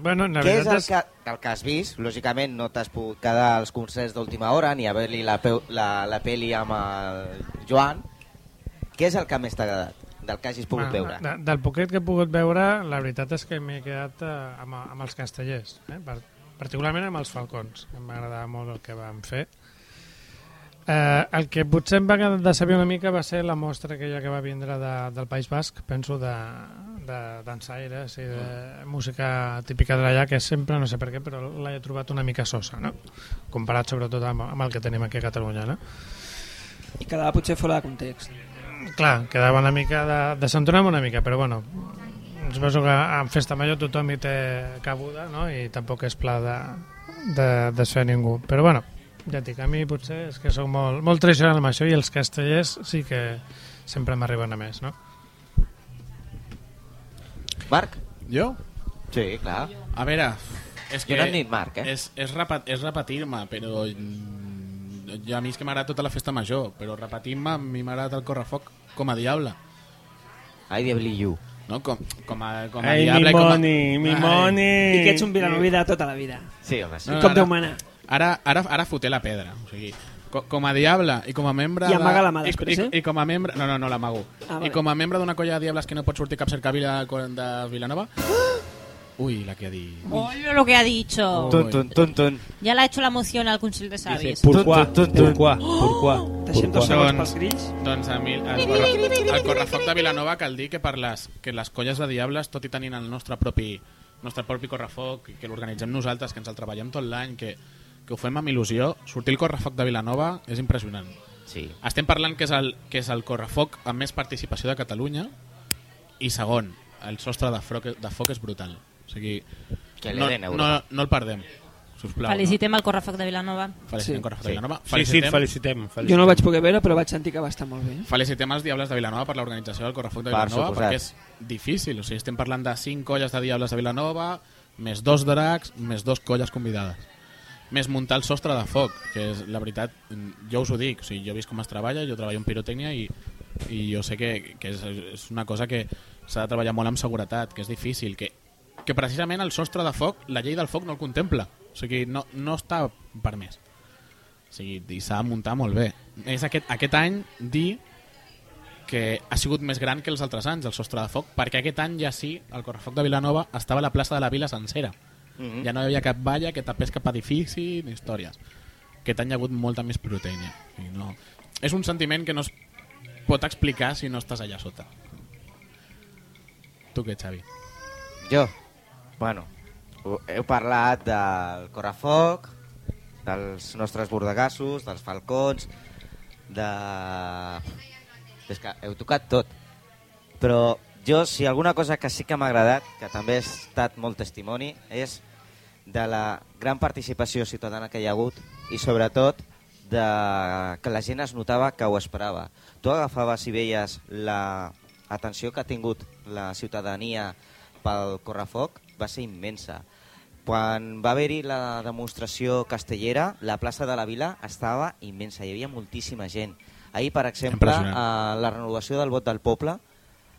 Bueno, la
què és
veritat
el que, el que has vist? Lògicament no t'has pogut quedar als concerts d'última hora ni a veure-li la, peu- la, la peli amb el Joan. Què és el que més t'ha agradat del que hagis pogut
Bueno,
veure?
De, del poquet que he pogut veure, la veritat és que m'he quedat eh, amb, amb els castellers, eh? per, particularment amb els falcons. que Em va agradar molt el que vam fer. Eh, el que potser em va quedar de saber una mica va ser la mostra aquella que va vindre de, del País Basc, penso, de de dansaires i de música típica de l'allà, que sempre, no sé per què, però l'he trobat una mica sosa, no? comparat sobretot amb, amb el que tenim aquí a Catalunya. No?
I quedava potser fora de context.
clar, quedava una mica de, de centonar una mica, però bueno suposo que en Festa Major tothom hi té cabuda no? i tampoc és pla de, de, de ser ningú però bueno, ja et dic, a mi potser és que sóc molt, molt tradicional amb això i els castellers sí que sempre m'arriben a més no?
Marc?
Jo?
Sí, clar.
A veure, és que...
Jo no et dit Marc, eh?
És, és, repe és repetir-me, però... mm, Jo, a mi és que m'agrada tota la festa major, però repetir-me a mi m'agrada el correfoc com a diable.
Ai, diablillo.
No? Com, com a, com a
Ai,
diable...
mi
com a-
moni, mi
Ai.
moni.
I que ets un vilanoví de tota la vida.
Sí, home, sí.
No, no,
Com
no.
Déu mana.
Ara, ara, ara foté la pedra. O sigui, co- com a diable i com a membre...
I amaga
de-
la mà després,
i,
eh?
i, I com a membre... No, no, no l'amago.
Ah,
Ah, [GASPS]
vale.
I com a membre d'una colla de diables que no pot sortir cap cercavila de Vilanova, Uy, la que ha dicho.
Oye lo que ha dicho.
Oh.
Tun, tun, tun, tun.
Ya la ha hecho la moción al Consell de Savis.
Pourquoi?
Tun, tun, tun, tun.
Pourquoi? Pourquoi?
Oh! Deixem dos
Pourquoi?
segons
Doncs-
pels grills.
Doncs a mi, al, corre, al correfoc de Vilanova cal dir que per les, que les colles de diables, tot i tenint el nostre propi, nostre propi correfoc, i que l'organitzem nosaltres, que ens el treballem tot l'any, que, que ho fem amb il·lusió, sortir el correfoc de Vilanova és impressionant.
Sí.
Estem parlant que és el, que és el correfoc amb més participació de Catalunya i segon, el sostre de foc, de foc és brutal. O sigui,
Que
no,
li den
no,
euros.
no el perdem, sisplau.
Felicitem el Correfoc de Vilanova.
No? Felicitem
Sí.
sí. correfoc de Vilanova.
Sí, sí, el felicitem. felicitem.
Jo no el vaig poder veure, però vaig sentir que va estar molt bé.
Felicitem els Diables de Vilanova per l'organització del Correfoc de
Per
Vilanova
suposat.
perquè és difícil, o sigui, estem parlant de 5 colles de Diables de Vilanova més dos dracs, més dos colles convidades més muntar el sostre de foc que és, la veritat, mm, jo us ho dic o sigui, jo he vist com es treballa, jo treballo en pirotècnia i, i jo sé que, que és, és una cosa que s'ha de treballar molt amb seguretat que és difícil, que, que precisament el sostre de foc, la llei del foc no el contempla o sigui, no, no està permès o sigui, i s'ha de muntar molt bé. És aquest, aquest any dir que ha sigut més gran que els altres anys, el sostre de foc, perquè aquest any ja sí, el correfoc de Vilanova estava a la plaça de la Vila sencera.
Mhm.
Ja no hi havia cap valla, que tapés cap edifici, ni històries. Aquest any hi ha hagut molta més pirotècnia. I no... És un sentiment que no es pot explicar si no estàs allà sota. Tu què, Xavi?
Jo, bueno, ho- heu parlat del correfoc, dels nostres bordegassos, dels falcons, de... És que heu tocat tot. Però jo, si alguna cosa que sí que m'ha agradat, que també he estat molt testimoni, és de la gran participació ciutadana que hi ha hagut i sobretot de que la gent es notava que ho esperava. Tu agafaves i veies la atenció que ha tingut la ciutadania pel correfoc va ser immensa. Quan va haver-hi la demostració castellera, la plaça de la Vila estava immensa, hi havia moltíssima gent. Ahir, per exemple,
Impressionant.
a la renovació del vot del poble,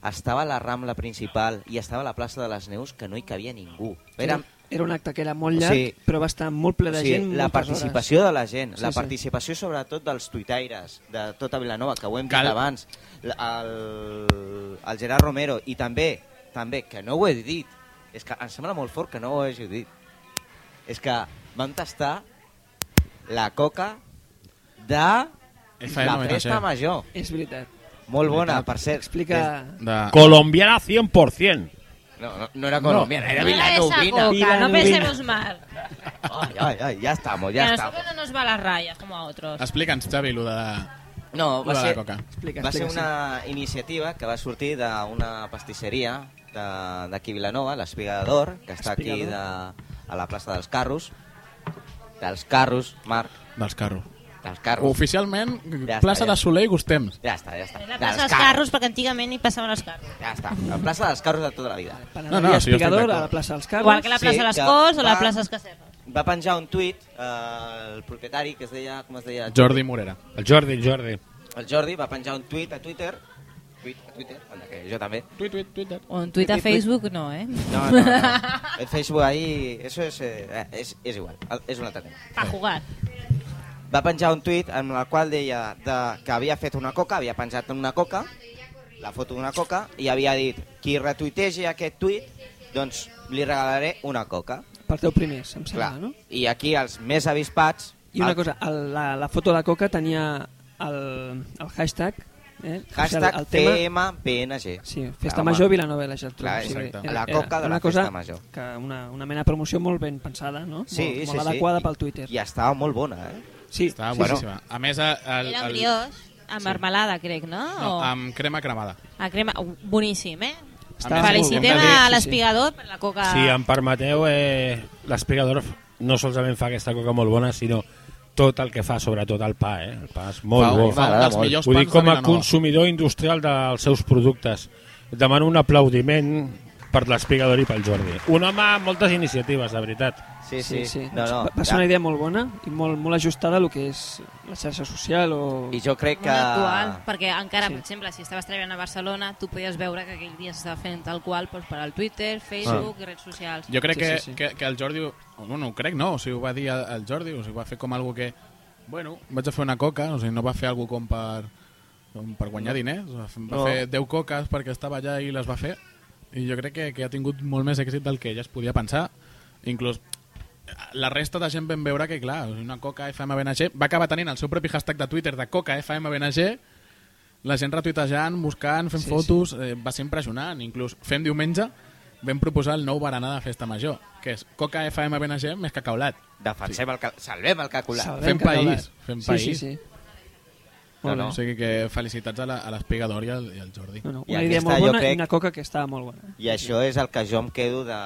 estava la Rambla principal i estava la plaça de les Neus, que no hi cabia ningú. Érem,
Era un acte que era molt llarg,
Sí.
però va estar molt ple
o
de
sigui,
gent.
la
moltes
participació de la gent,
Sí,
la
sí.
participació sobretot dels tuitaires de tota Vilanova, que ho hem dit
Cal-
abans, l- el, el Gerard Romero, i també, també, que no ho he dit, és que em sembla molt fort que no ho hagi dit, és que vam tastar la coca de
FM
la
96.
festa major.
Hores. És veritat.
Molt bona, per cert.
Explica...
De...
Colombiana 100%.
No, no, no era colombiana, era
No la de esa
vilanovina.
coca, no
Vilanovina.
pensemos mal.
Ay, ay, ay, ya estamos,
Que
ya
a
estamos.
nosotros no nos va las rayas como a otros.
Explica'ns, Xavi, lo de,
No,
lo
va
de la
ser,
coca.
Explica,
va ser
explica,
una iniciativa que va sortir d'una pastisseria de- d'aquí a Vilanova, l'Espiga d'Or, que està aquí de, a la plaça dels Carros. Dels Carros, Marc,
dels carros.
dels Carros.
Oficialment,
Ja està,
plaça
ja
de
està.
Soler i Gustems.
Ja està, ja està.
És Eh, la plaça dels carros, perquè antigament hi passaven els carros.
Ja està, la plaça dels Carros de tota la vida.
Panaderia
No, no, sí, jo estic
Espigador, a la
d'acord.
plaça dels Carles.
Igual que la
Sí,
plaça de les
que
Corts o la
va-
plaça dels Cacerres.
Va penjar un tuit eh, el propietari, que es deia, com es deia?
Jordi Morera.
El Jordi, el Jordi.
El Jordi va penjar un tuit a Twitter, tuit a Twitter, anda, que jo també,
Tuit, tuit, tuit.
O en Twitter, Facebook, no, [LAUGHS] eh?
No, no, no.
[LAUGHS]
El Facebook ahí, eso es, eh, es, es igual, El- és un altre tema.
Para jugar.
Va penjar un tuit en el qual deia de, que havia fet una coca, havia penjat en una coca, la foto d'una coca, i havia dit, qui retuitegi aquest tuit, doncs li regalaré una coca.
Per teu primers, em sembla,
Clar, Ah.
no?
i aquí els més avispats...
I una
el-
cosa, el, la, la foto de la coca tenia el, el hashtag... Eh?
Hashtag
o sigui, el, el tema,
PMPNG.
Sí, Festa
Clar,
Major
home.
Vilanova i la Geltrú.
Clar, exacte. La coca de
una
la
cosa
Festa Major.
Que una, una mena de promoció molt ben pensada, no?
Sí,
molt,
sí,
molt
sí.
adequada pel Twitter.
I estava molt bona, eh?
Sí,
Estava
sí,
boníssima. A més, eh, el,
Era un
el,
brioix amb marmelada, crec, no?
no,
O-
amb crema cremada.
A crema... uh, Boníssim, eh?
Estava molt
Felicitem
ben fet, sí,
a
sí.
l'espigador per la coca...
Si em permeteu, eh, l'Espigador no solament fa aquesta coca molt bona, sinó tot el que fa, sobretot el pa, eh? El pa és molt
Fa-
bo.
fa un dels
molt.
millors
Ho dic
pans de
com a
Vilanova.
consumidor industrial dels seus productes. Demano un aplaudiment per l'Espigador i pel Jordi. Un home amb moltes iniciatives, de veritat.
Sí,
Sí,
sí.
sí.
No, no.
va ser una idea molt bona i molt, molt ajustada a lo que és la xarxa social o...
I jo crec
Molt
que...
actual, perquè encara,
Sí.
per exemple, si estaves treballant a Barcelona, tu podies veure que aquell dia s'estava fent tal qual doncs, per al Twitter,
Ah.
Facebook i redes socials.
Jo crec
Sí,
que,
sí, sí.
que, que el Jordi... ho- No, no ho crec, no. O sigui, ho va dir el el Jordi, o sigui, ho va fer com algo que... Bueno, vaig a fer una coca, o sigui, no va fer algo com per, com per guanyar diners. Va fer, va
No.
fer 10 coques perquè estava allà i les va fer. I jo crec que, que ha tingut molt més èxit del que ella es podia pensar. Inclús eh, la resta de gent vam veure que, clar, una Coca FM BNG va acabar tenint el seu propi hashtag de Twitter de Coca FM BNG, la gent retuitejant, buscant, fent sí, fotos, sí. Eh, va ser impressionant. Inclús fem diumenge vam proposar el nou berenar de festa major, que és Coca FM BNG més cacaulat.
Defensem el cal... Salvem el calculat.
Salvem
Fem
català.
país, fem
sí, Sí,
país.
sí.
No, no.
O sigui que felicitats a la- a l'espigador i, al- i al Jordi.
No, no,
I
una idea
aquesta
molt
jo
bona crec...
crec-
i una coca que estava molt bona.
I això és el que jo em quedo de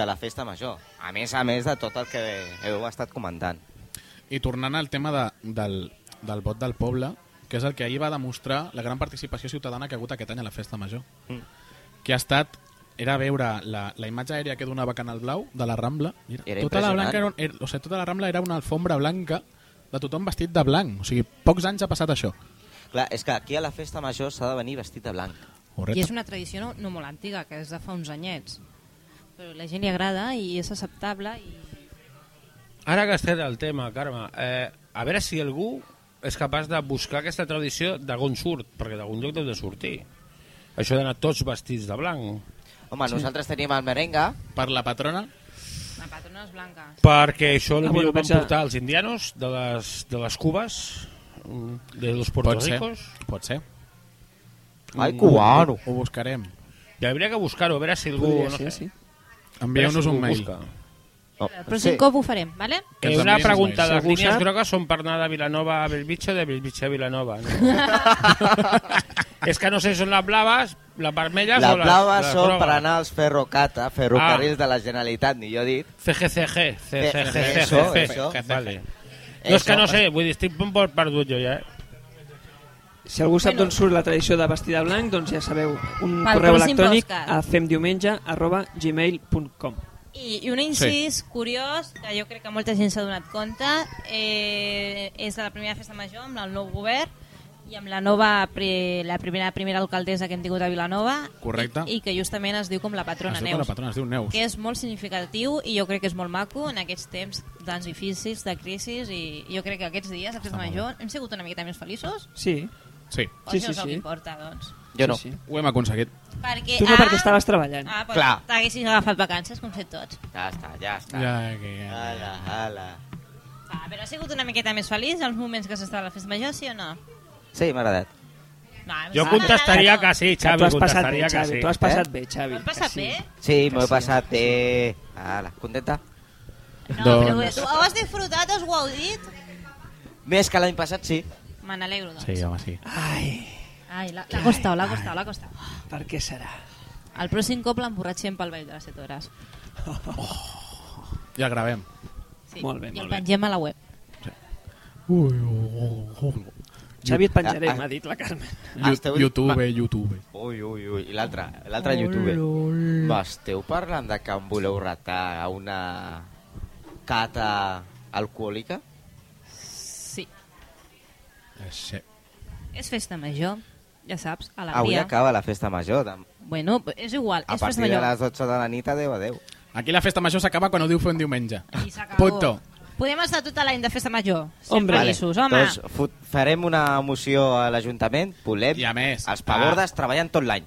de la festa major. A més a més de tot el que heu estat comentant.
I tornant al tema de, del, del vot del poble, que és el que ahir va demostrar la gran participació ciutadana que ha hagut aquest any a la festa major.
Mm.
Que ha estat era veure la, la imatge aèria que donava Canal Blau de la Rambla. Mira,
Era
tota, la
impressionant.
blanca era, un- era, o sigui, tota la Rambla era una alfombra blanca de tothom vestit de blanc. O sigui, pocs anys ha passat això.
Clar, és que aquí a la festa major s'ha de venir vestit de blanc.
I és una tradició no, no molt antiga, que és de fa uns anyets. Però la gent li agrada i és acceptable i
Ara que has tret el tema, Carme, eh, a veure si algú és capaç de buscar aquesta tradició d'algun surt, perquè d'algun lloc deu de sortir. Això d'anar tots vestits de blanc.
Home, sí. nosaltres tenim el merenga.
Per la patrona,
la patrona és blanca.
Perquè això
Ah,
ah,
bueno,
bueno, van
vaig a-
portar els indianos de les, de les Cubes, mm, de los
pot
Puerto
ser.
Ricos.
Pot ser.
Ai, cubano.
Ho buscarem.
I hauria que buscar-ho, a veure si algú...
Podria
no
ser, sí.
sé, a veure si
Envieu-nos un
algú
mail.
busca.
Oh,
El pròxim cop ho farem, vale?
Que
Eh,
ens
una
enviïn els
pregunta,
mails.
les
Algú
línies
sap?
grogues són per anar de Vilanova a Belvitge o de Belvitge a Vilanova.
[LAUGHS]
No? És que no sé si són les blaves, les vermelles
La
o les...
blava
les
són
grogues.
per anar als ferrocata, ferrocarrils ah. de la Generalitat, ni jo he dit.
CGCG, CGCG,
Eh,
Eso, eso.
CGCG, vale. No, és que no sé, vull dir, estic un poc perdut jo ja. eh?
Si algú sap d'on surt la tradició de vestir de blanc, doncs ja sabeu, un
Pel
correu
pròxim
electrònic
podcast.
a femdiumenge arroba gmail.com
I, I un incís sí. curiós, que jo crec que molta gent s'ha donat compte, eh, és de la primera festa major amb el nou govern i amb la nova, pre, la primera primera alcaldessa que hem tingut a Vilanova
Correcte.
i, i que justament es diu com la patrona
Es diu com
Neus,
la patrona, es diu Neus.
que és molt significatiu i jo crec que és molt maco en aquests temps tan difícils, de crisi i jo crec que aquests dies, a festa major, hem sigut una miqueta més feliços
Sí,
Sí,
o
Sí, sí,
això és el
sí.
que importa, doncs.
Jo no.
Sí, sí.
ho hem aconseguit.
Perquè,
Tu no, perquè estaves treballant.
Ah, però
Clar.
t'haguessis agafat vacances, com fet tots.
Ja està, ja està. Ja.
Ja, que, ja.
Ala, ala.
Ah, però ha sigut una miqueta més feliç els moments que s'està a la festa major, sí o no?
Sí, m'ha agradat.
no em
Jo
sembla
contestaria
no.
que sí,
Xavi, Ah. tu
Xavi,
has passat bé,
contestaria que
Xavi.
sí. Eh?
Tu has passat
Eh?
bé, Xavi.
Ho hem passat
Sí.
bé?
Sí, m'ho he
sí,
passat bé. Ala, contenta?
No,
Doncs-
però ho has disfrutat, has gaudit?
Més que l'any passat, sí.
Me n'alegro, doncs.
Sí, home, sí.
Ai,
Ai, l'ha l'ha costat, l'ha costat, l'ha costat.
per què serà?
El pròxim cop l'emborratxem pel ball de les 7 hores.
Ja gravem.
Sí.
Molt bé,
I el
molt bé.
pengem a la web.
Ui, ui, ui.
Xavi, et penjaré,
Ah, ah.
m'ha dit la Carmen.
Ah, esteu-
YouTube, YouTube.
Ui, ui, ui. I l'altre, l'altre youtuber. M'esteu parlant de que em voleu retar a una cata alcohòlica?
Sí.
Eh, Sí.
És festa major, ja saps,
Avui
alegria.
acaba la festa major. de-
Bueno, és igual,
A
és festa
partir de
major.
les 8 de la nit, adeu, adeu.
Aquí la festa major s'acaba quan ho diu fer un diumenge.
I s'acabó.
Punto.
Podem estar tot l'any de festa major.
Hombre.
Sempre
Vale.
lliços, home.
Doncs fot- farem una moció a l'Ajuntament, volem
I a més,
els pavordes treballen tot l'any.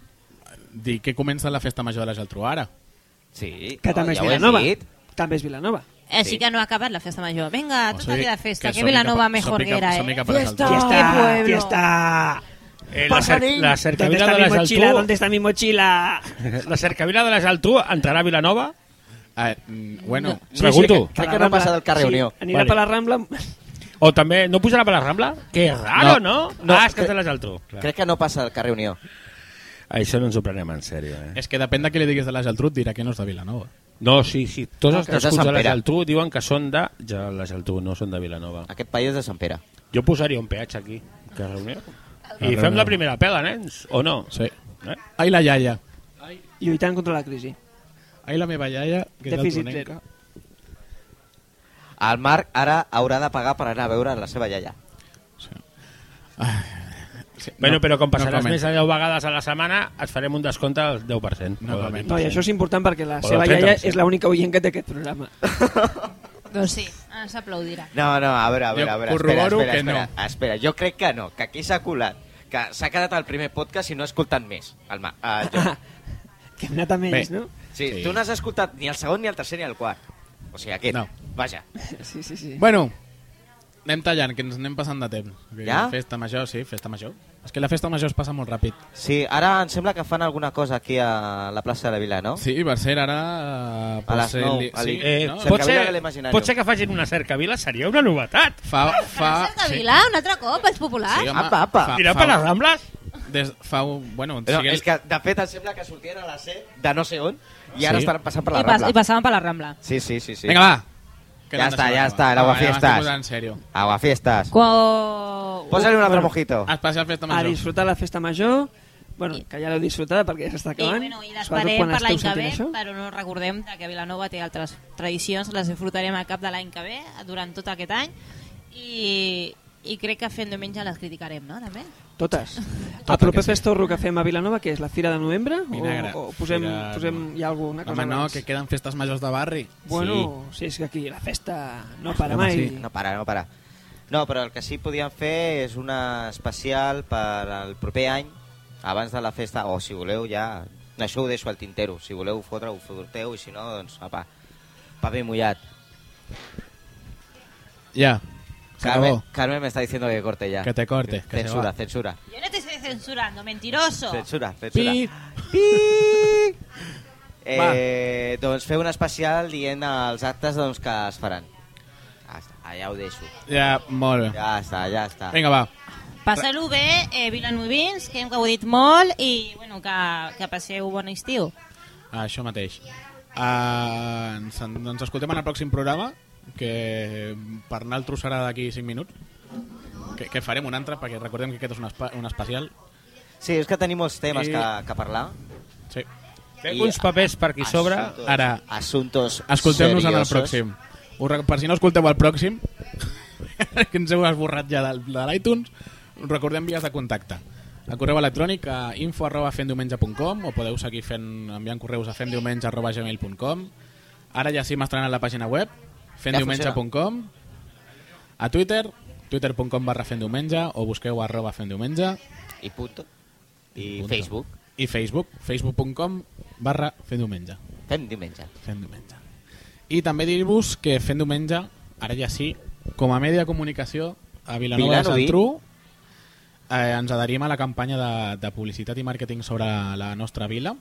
Dir que comença la festa major de la Geltrú ara.
Sí,
Que
no,
també és
ho he
Vilanova.
dit.
També és Vilanova.
Així
sí.
que no ha acabat la festa major. Vinga,
O
tota
sigui,
la festa, que,
som incapa-
Vilanova
som
mejor
inca-
que era,
som
eh?
incapaces del tot.
Fiesta, fiesta.
Eh, la, cer la
¿Dónde
cercavila
está
de
mi
les
mochila? ¿Dónde
Altú...
está mi mochila?
[LAUGHS] La cercavila de les Altú entrarà a Vilanova?
Eh, mm, bueno,
Pregunto.
Crec que no passa del carrer Unió.
Sí, anirà
Vale.
per la Rambla...
O també... No pujarà per la Rambla? Que raro, no?
No,
ah, és que és
cre-
de les Altú. Clar.
Crec que no passa del carrer Unió.
Això no ens ho prenem en sèrio, eh?
és que depèn de què li diguis de la Geltrú, et dirà que no és de Vilanova.
No, sí, sí. Tots
No,
els
que és de
nascuts
Sant
de les
Pere.
Altú diuen que són de... Ja, les Altú, no són de Vilanova.
Aquest país és de Sant Pere.
Jo posaria un peatge aquí, que reunió. I
reunió.
fem la primera pela, nens, o no?
Sí.
Eh?
Ai, la iaia.
Lluitant contra la crisi.
Ai, la meva iaia, que és
Dèficit
altonenca.
El Marc ara haurà de pagar per anar a veure la seva iaia.
Sí, no,
Bueno, però com passaràs
no
més de 10 vegades a la setmana, et farem un descompte del 10%.
No
o del
comento.
No, i això és important perquè la
Hola,
seva iaia
30%.
és l'única oient que té aquest programa. [LAUGHS]
Doncs sí, ah, s'aplaudirà.
No, no, a veure, a veure,
Jo
a veure.
corroboro
espera, espera,
que
espera, espera. Jo crec que no, que aquí s'ha colat. que s'ha quedat al primer podcast i no ha escoltat més. El ma... eh, jo.
Que hem anat amb ells,
Bé.
no?
Sí,
Sí.
sí. Tu no has escoltat ni el segon, ni el tercer, ni el quart. O sigui, aquest.
No.
Vaja.
Sí, sí, sí.
Bueno, anem tallant, que ens anem passant de temps. Que
Ja?
Festa major, sí, festa major. És que la festa major es passa molt ràpid.
Sí, ara em sembla que fan alguna cosa aquí a la plaça de la Vila, no?
Sí, va ser ara... eh, pot
les
ser
nou,
li-
a
sí,
l'in-
Eh,
no?
Cercavila
pot,
de
ser,
l'Imaginarium.
pot ser que facin una cercavila, seria una novetat.
Fa, fa,
Ah, de Vila, un altre cop, els populars.
home,
Apa, apa.
fa-
Tirar
Ah, fa-
per les Rambles?
Des, fa un... Bueno,
No,
sigue-
és que, de fet, em sembla que sortien a la C de no sé on i ara
Sí.
estan passant per la
I, pas, I
Rambla.
passaven per la Rambla.
Sí, sí, sí. sí.
Vinga, va. Que
Ja
l'hem
està,
deixat
ja
acabar.
està, el
Va, ja
aguafiestas.
m'estic posant en sèrio.
Aguafiestas.
Quan...
Posa-li un altre mojito.
Especial festa
A
major.
disfrutar la festa major, bueno, que ja l'heu disfrutada perquè ja s'està
I,
acabant.
bueno, I
eh? Sobretot
l'esperem
quan
per l'any
esteu
que ve,
sentint això.
però no recordem que Vilanova té altres tradicions, les disfrutarem a cap de l'any que ve, durant tot aquest any, i, i crec que fent diumenge les criticarem, no, també? [LAUGHS]
Totes.
que
el proper
sí.
Festorro que fem a Vilanova, que és la Fira de Novembre?
Vinagre.
O, o posem,
Fira de
posem
Novembre.
hi ha alguna cosa
Home, no,
abans?
que queden festes majors de barri.
Bueno, sí. és que aquí la festa no para
Home,
mai.
sí.
No para, no para. No, però el que sí podíem fer és una especial per al proper any, abans de la festa, o si voleu ja... Això ho deixo al tintero, si voleu fotre ho foteu i si no, doncs apa, paper mullat.
Ja.
Carmen,
S'acabó.
Carmen me está diciendo que corte ya.
Que te corte, que se
censura,
va.
censura,
Jo no t'estic censurando, mentiroso.
censura, censura.
Pi.
Eh, doncs feu un especial dient els actes doncs, que es faran. Ja està, allà ho deixo.
Ja, molt bé.
Ja està, ja està.
Vinga, va.
Passeu-lo bé, eh, vilanovins, que hem gaudit molt i bueno, que, que passeu bon estiu.
Això mateix. Uh, ens, ens escoltem en el pròxim programa, que per naltros serà d'aquí 5 minuts. Que, que farem un altre, perquè recordem que aquest és un, espa, un especial.
Sí, és que tenim molts temes
I-
que, que parlar.
Sí.
Tinc uns papers per aquí sobre.
Assuntos-
Ara.
Assuntos
Escolteu-nos en el
seriosos.
pròxim. Us, rec- per si no escolteu el pròxim, [LAUGHS] que ens heu esborrat ja de, de l'iTunes, us recordem vies de contacte. El correu electrònic a info arroba femdiumenge.com o podeu seguir fent, enviant correus a femdiumenge arroba gmail.com Ara ja sí m'ha estrenat la pàgina web femdiumenge.com a Twitter twitter.com barra femdiumenge o busqueu arroba femdiumenge
I punto. I
Punto.
Facebook.
i Facebook facebook.com barra femdiumenge
Fem diumenge.
Fent diumenge. I també dir-vos que fent diumenge, ara ja sí, com a mèdia de comunicació a Vilanova de
Vilanoví.
Santru, eh, ens adherim a la campanya de, de publicitat i màrqueting sobre la nostra vila,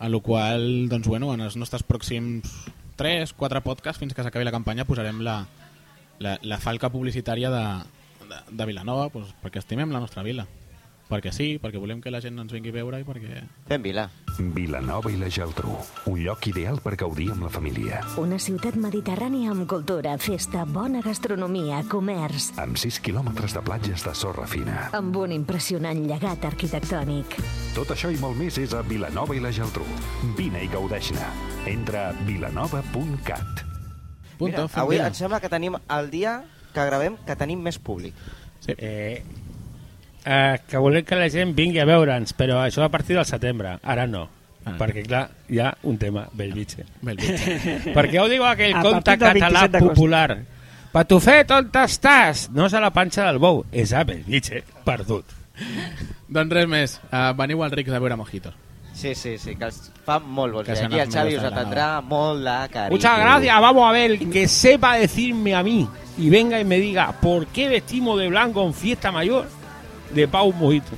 en la qual, doncs, bueno, en els nostres pròxims 3, 4 podcasts, fins que s'acabi la campanya, posarem la, la, la falca publicitària de, de, de Vilanova, doncs, perquè estimem la nostra vila. Perquè sí, perquè volem que la gent ens vingui a veure i perquè...
Fem vila.
Vilanova i la Geltrú, un lloc ideal per gaudir amb la família.
Una ciutat mediterrània amb cultura, festa, bona gastronomia, comerç,
Amb 6 quilòmetres de platges de sorra fina.
amb un impressionant llegat arquitectònic.
Tot això i molt més és a Vilanova i la Geltrú. Vine i gaudeix-ne. Entra a vilanova.cat.
Punto,
Mira,
fem
avui
vila.
em sembla que tenim el dia que gravem que tenim més públic.
Sí.
Eh, eh, que volem que la gent vingui a veure'ns, però això a partir del setembre. Ara no.
Ah.
Perquè, clar, hi ha un tema, Belvitge.
Belvitge.
[LAUGHS] Per què ho diu aquell
Ah. A
conte
partir del
català
27 d'agost.
popular? Patufet, on estàs? No és a la panxa del bou, és a Belvitge, perdut.
[LAUGHS] Doncs res més, uh, veniu al Rics a veure mojitos.
Sí, sí, sí, que els fa molt bons
Que
dies.
són
I el
els
Xavi
millors
us
de la
atendrà molt de cariño.
Muchas gracias, vamos a ver, que sepa decirme a mí y venga y me diga por qué vestimos de blanco en fiesta mayor de Pau Mojito.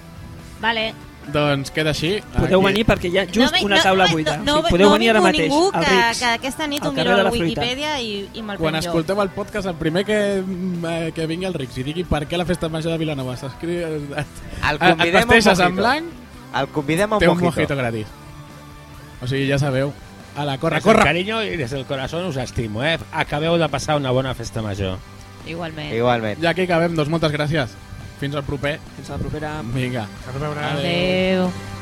Vale.
Doncs queda així.
Podeu
Aquí-
venir perquè hi ha just
ve-
una taula
ve-
buida.
No,
o
no,
sigui, podeu
no
venir ara
ningú,
mateix,
ningú
al
que,
Rics,
que aquesta nit ho
al
miro
carrer
a
de
la
la Fruita.
Wikipedia i, i me'l
Quan
prenc jo.
escolteu el podcast, el primer que, mm, eh, que vingui al Rics i digui per què la festa major de Vilanova s'escriu... eh,
El convidem a un
pasteixes en
mojito.
blanc,
El convidem a un
té un
mojito.
mojito gratis. O sigui, ja sabeu. A la corre,
Desde el
corre!
cariño y desde el corazón os estimo, eh. Acabeu de pasar una bona festa major.
Igualment.
Igualment.
Ja que acabem, doncs moltes gràcies. Fins al proper.
Fins a la propera.
Vinga.
A veure...
Adéu.
Adéu.